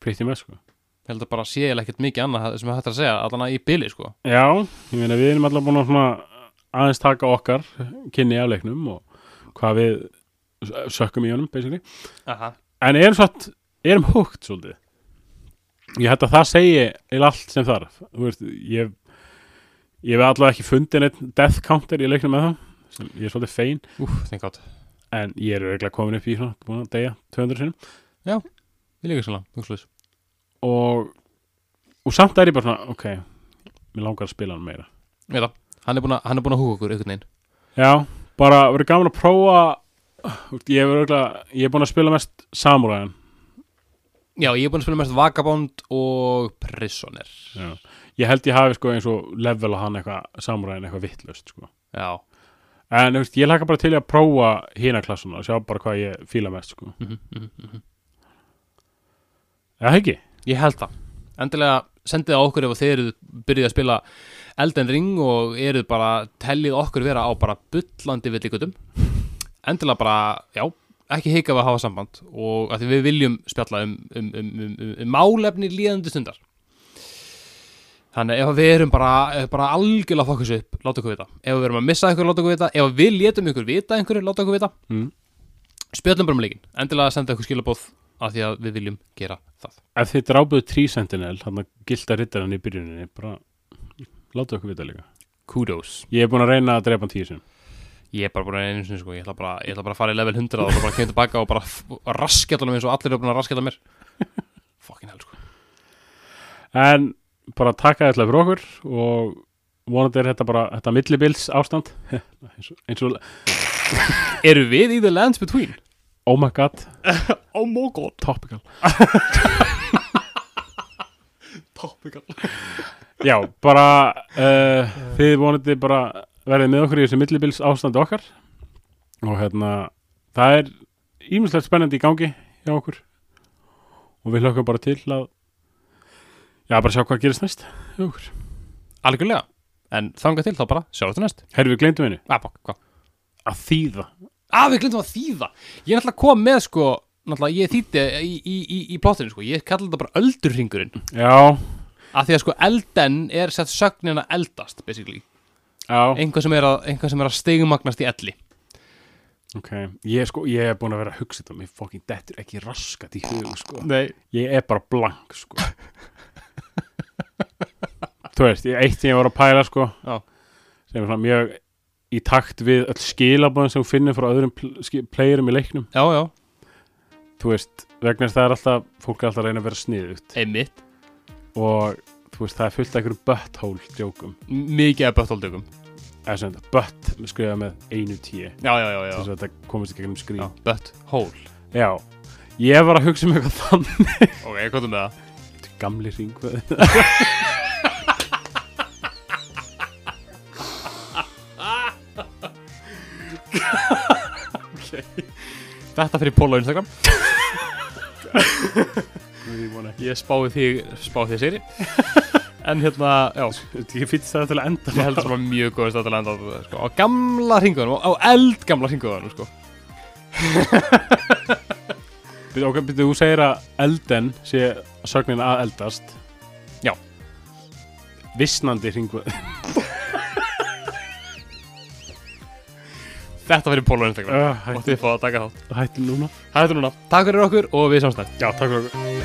Speaker 2: pretty much sko
Speaker 1: ég held að bara sé ég ekkert mikið annað sem er hægt að segja, allan að í bili sko
Speaker 2: Já, ég meina við erum alltaf búin að svona aðeins taka okkar kynni af leiknum og hvað við sökkum í honum, basically.
Speaker 1: Aha.
Speaker 2: En erum satt, erum húgt svolítið. Ég hætti að það segi eða allt sem þarf. Þú veist, ég ég hef allavega ekki fundið neitt death counter í leiknum með það, sem ég er svolítið fein,
Speaker 1: Úf, þengt gátt,
Speaker 2: en ég er örgulega komin upp í svona, búin að deyja 200 sinum
Speaker 1: ég líka svona, hugslaus
Speaker 2: og, og samt er ég bara svona, ok, mér langar að spila hann meira.
Speaker 1: Ég veit það, hann er búin að, hann er búin að húka okkur einhvern veginn
Speaker 2: Já, bara verið gaman að prófa Þú veist, ég hef örgulega, ég hef búin að spila mest samuræðan.
Speaker 1: Já, ég er búin að spila mest Vagabond og Prisoner
Speaker 2: Já. Ég held ég hafi sko eins og level hann eitthvað samuræðan eitthvað vittlaust, sko.
Speaker 1: Já,
Speaker 2: En þú veist, ég laka bara til í að prófa hína klassuna og sjá bara hvað ég fíla mest sko.
Speaker 1: mhm, mhm, mhm
Speaker 2: Eða ekki?
Speaker 1: Ég held það Endilega sendið á okkur ef þið eruð byrjuð að spila Elden Ring og eruð bara tellið okkur vera á bara bullandi villigutum Endilega bara, já, ekki hika við að hafa samband og að því við viljum spjalla um, um, um, um, um, um málefni líðandi stundar Þannig ef við erum bara, ef bara algjörlega fókus upp, láta okkur vita Ef við erum að missa ykkur, láta okkur vita Ef við létum ykkur vita einhverju, láta okkur vita
Speaker 2: Mm.
Speaker 1: Spjallum bara um leikinn Endilega senda ykkur skilabóð að því að við viljum gera það
Speaker 2: Ef þið drábuðu trísentinel, þannig að gilda rittarinn í byrjuninni, bara láta okkur vita líka.
Speaker 1: Kudos
Speaker 2: Ég hef búin að reyna að drepa hann tíu sinum.
Speaker 1: Ég er bara búin að einu sinni sko, ég ætla bara, ég ætla bara að fara í level 100 og svo bara kemur tilbaka og bara f- raskjalla mig eins og allir eru búin að raskjalla mér Fucking hell sko
Speaker 2: En bara taka þetta fyrir okkur og vonandi er þetta bara, þetta millibils ástand. eins, og, eins og,
Speaker 1: Eru við í the lands between?
Speaker 2: oh my god,
Speaker 1: Oh my god
Speaker 2: topical.
Speaker 1: Topical
Speaker 2: Já, bara uh, þið vonandi bara verðið með okkur í þessu millibils ástandi okkar og hérna það er ímislegt spennandi í gangi hjá okkur og við hlökkum bara til að já, bara sjá hvað gerist næst hjá okkur.
Speaker 1: Algjörlega, en þangað til þá bara, sjáum þetta næst
Speaker 2: Herru, við gleymdum einu
Speaker 1: Að, bak, Ah, hvað?
Speaker 2: að þýða
Speaker 1: Að, við glemtum að þýða Ég er náttúrulega kom með sko, náttúrulega ég þýtti í, í, í, í plottinu sko Ég kalla þetta bara öldurringurinn
Speaker 2: Já,
Speaker 1: Af því að sko elden er sett sögnin að eldast, basically
Speaker 2: já,
Speaker 1: Einhvað sem er að, einhvað sem er að stigmagnast í elli
Speaker 2: ok Ég er sko, ég er búin að vera að hugsa þetta mér fókin dettur ekki raskat í hug sko.
Speaker 1: Nei
Speaker 2: ég er bara blank sko. þú veist, ég, eitt sem ég var að pæla sko,
Speaker 1: Já.
Speaker 2: sem er svona mjög í takt við öll skilabóðin sem þú finnir frá öðrum pl ski- playerum í leiknum
Speaker 1: Já, já,
Speaker 2: þú veist, vegna þess að það er alltaf fólk er alltaf að reyna að vera sniðugt
Speaker 1: einmitt
Speaker 2: og þú veist, það er fullt af einhverjum butthole djókum,
Speaker 1: mikið af böttóldugum
Speaker 2: eða sem þetta butt skrifa með einu tíu
Speaker 1: já, já, já,
Speaker 2: þess
Speaker 1: já.
Speaker 2: að þetta komist í gegnum skrín
Speaker 1: já bötthól
Speaker 2: já, ég var að hugsa um eitthvað þannig
Speaker 1: ok, hvað er með það?
Speaker 2: gamli ringveð
Speaker 1: þetta fyrir Póla á Instagram
Speaker 2: ég vona ekki.
Speaker 1: ég spái því, spái því séri en hérna, já
Speaker 2: ég finnst það til að enda
Speaker 1: ég held það var mjög góð stætt að lenda á þetta sko. á gamla ringuðanum, á eldgamla ringuðanum sko.
Speaker 2: Bíddu, Ok, byrju, þú segir að elden sé sögnin að eldast
Speaker 1: Já.
Speaker 2: Visnandi hringvöð
Speaker 1: þetta fyrir Póla á Instagram
Speaker 2: uh,
Speaker 1: og þið fá að taka þátt
Speaker 2: Hættu núna
Speaker 1: það er þetta núna, takk fyrir okkur og við samstætt
Speaker 2: Já, takk fyrir okkur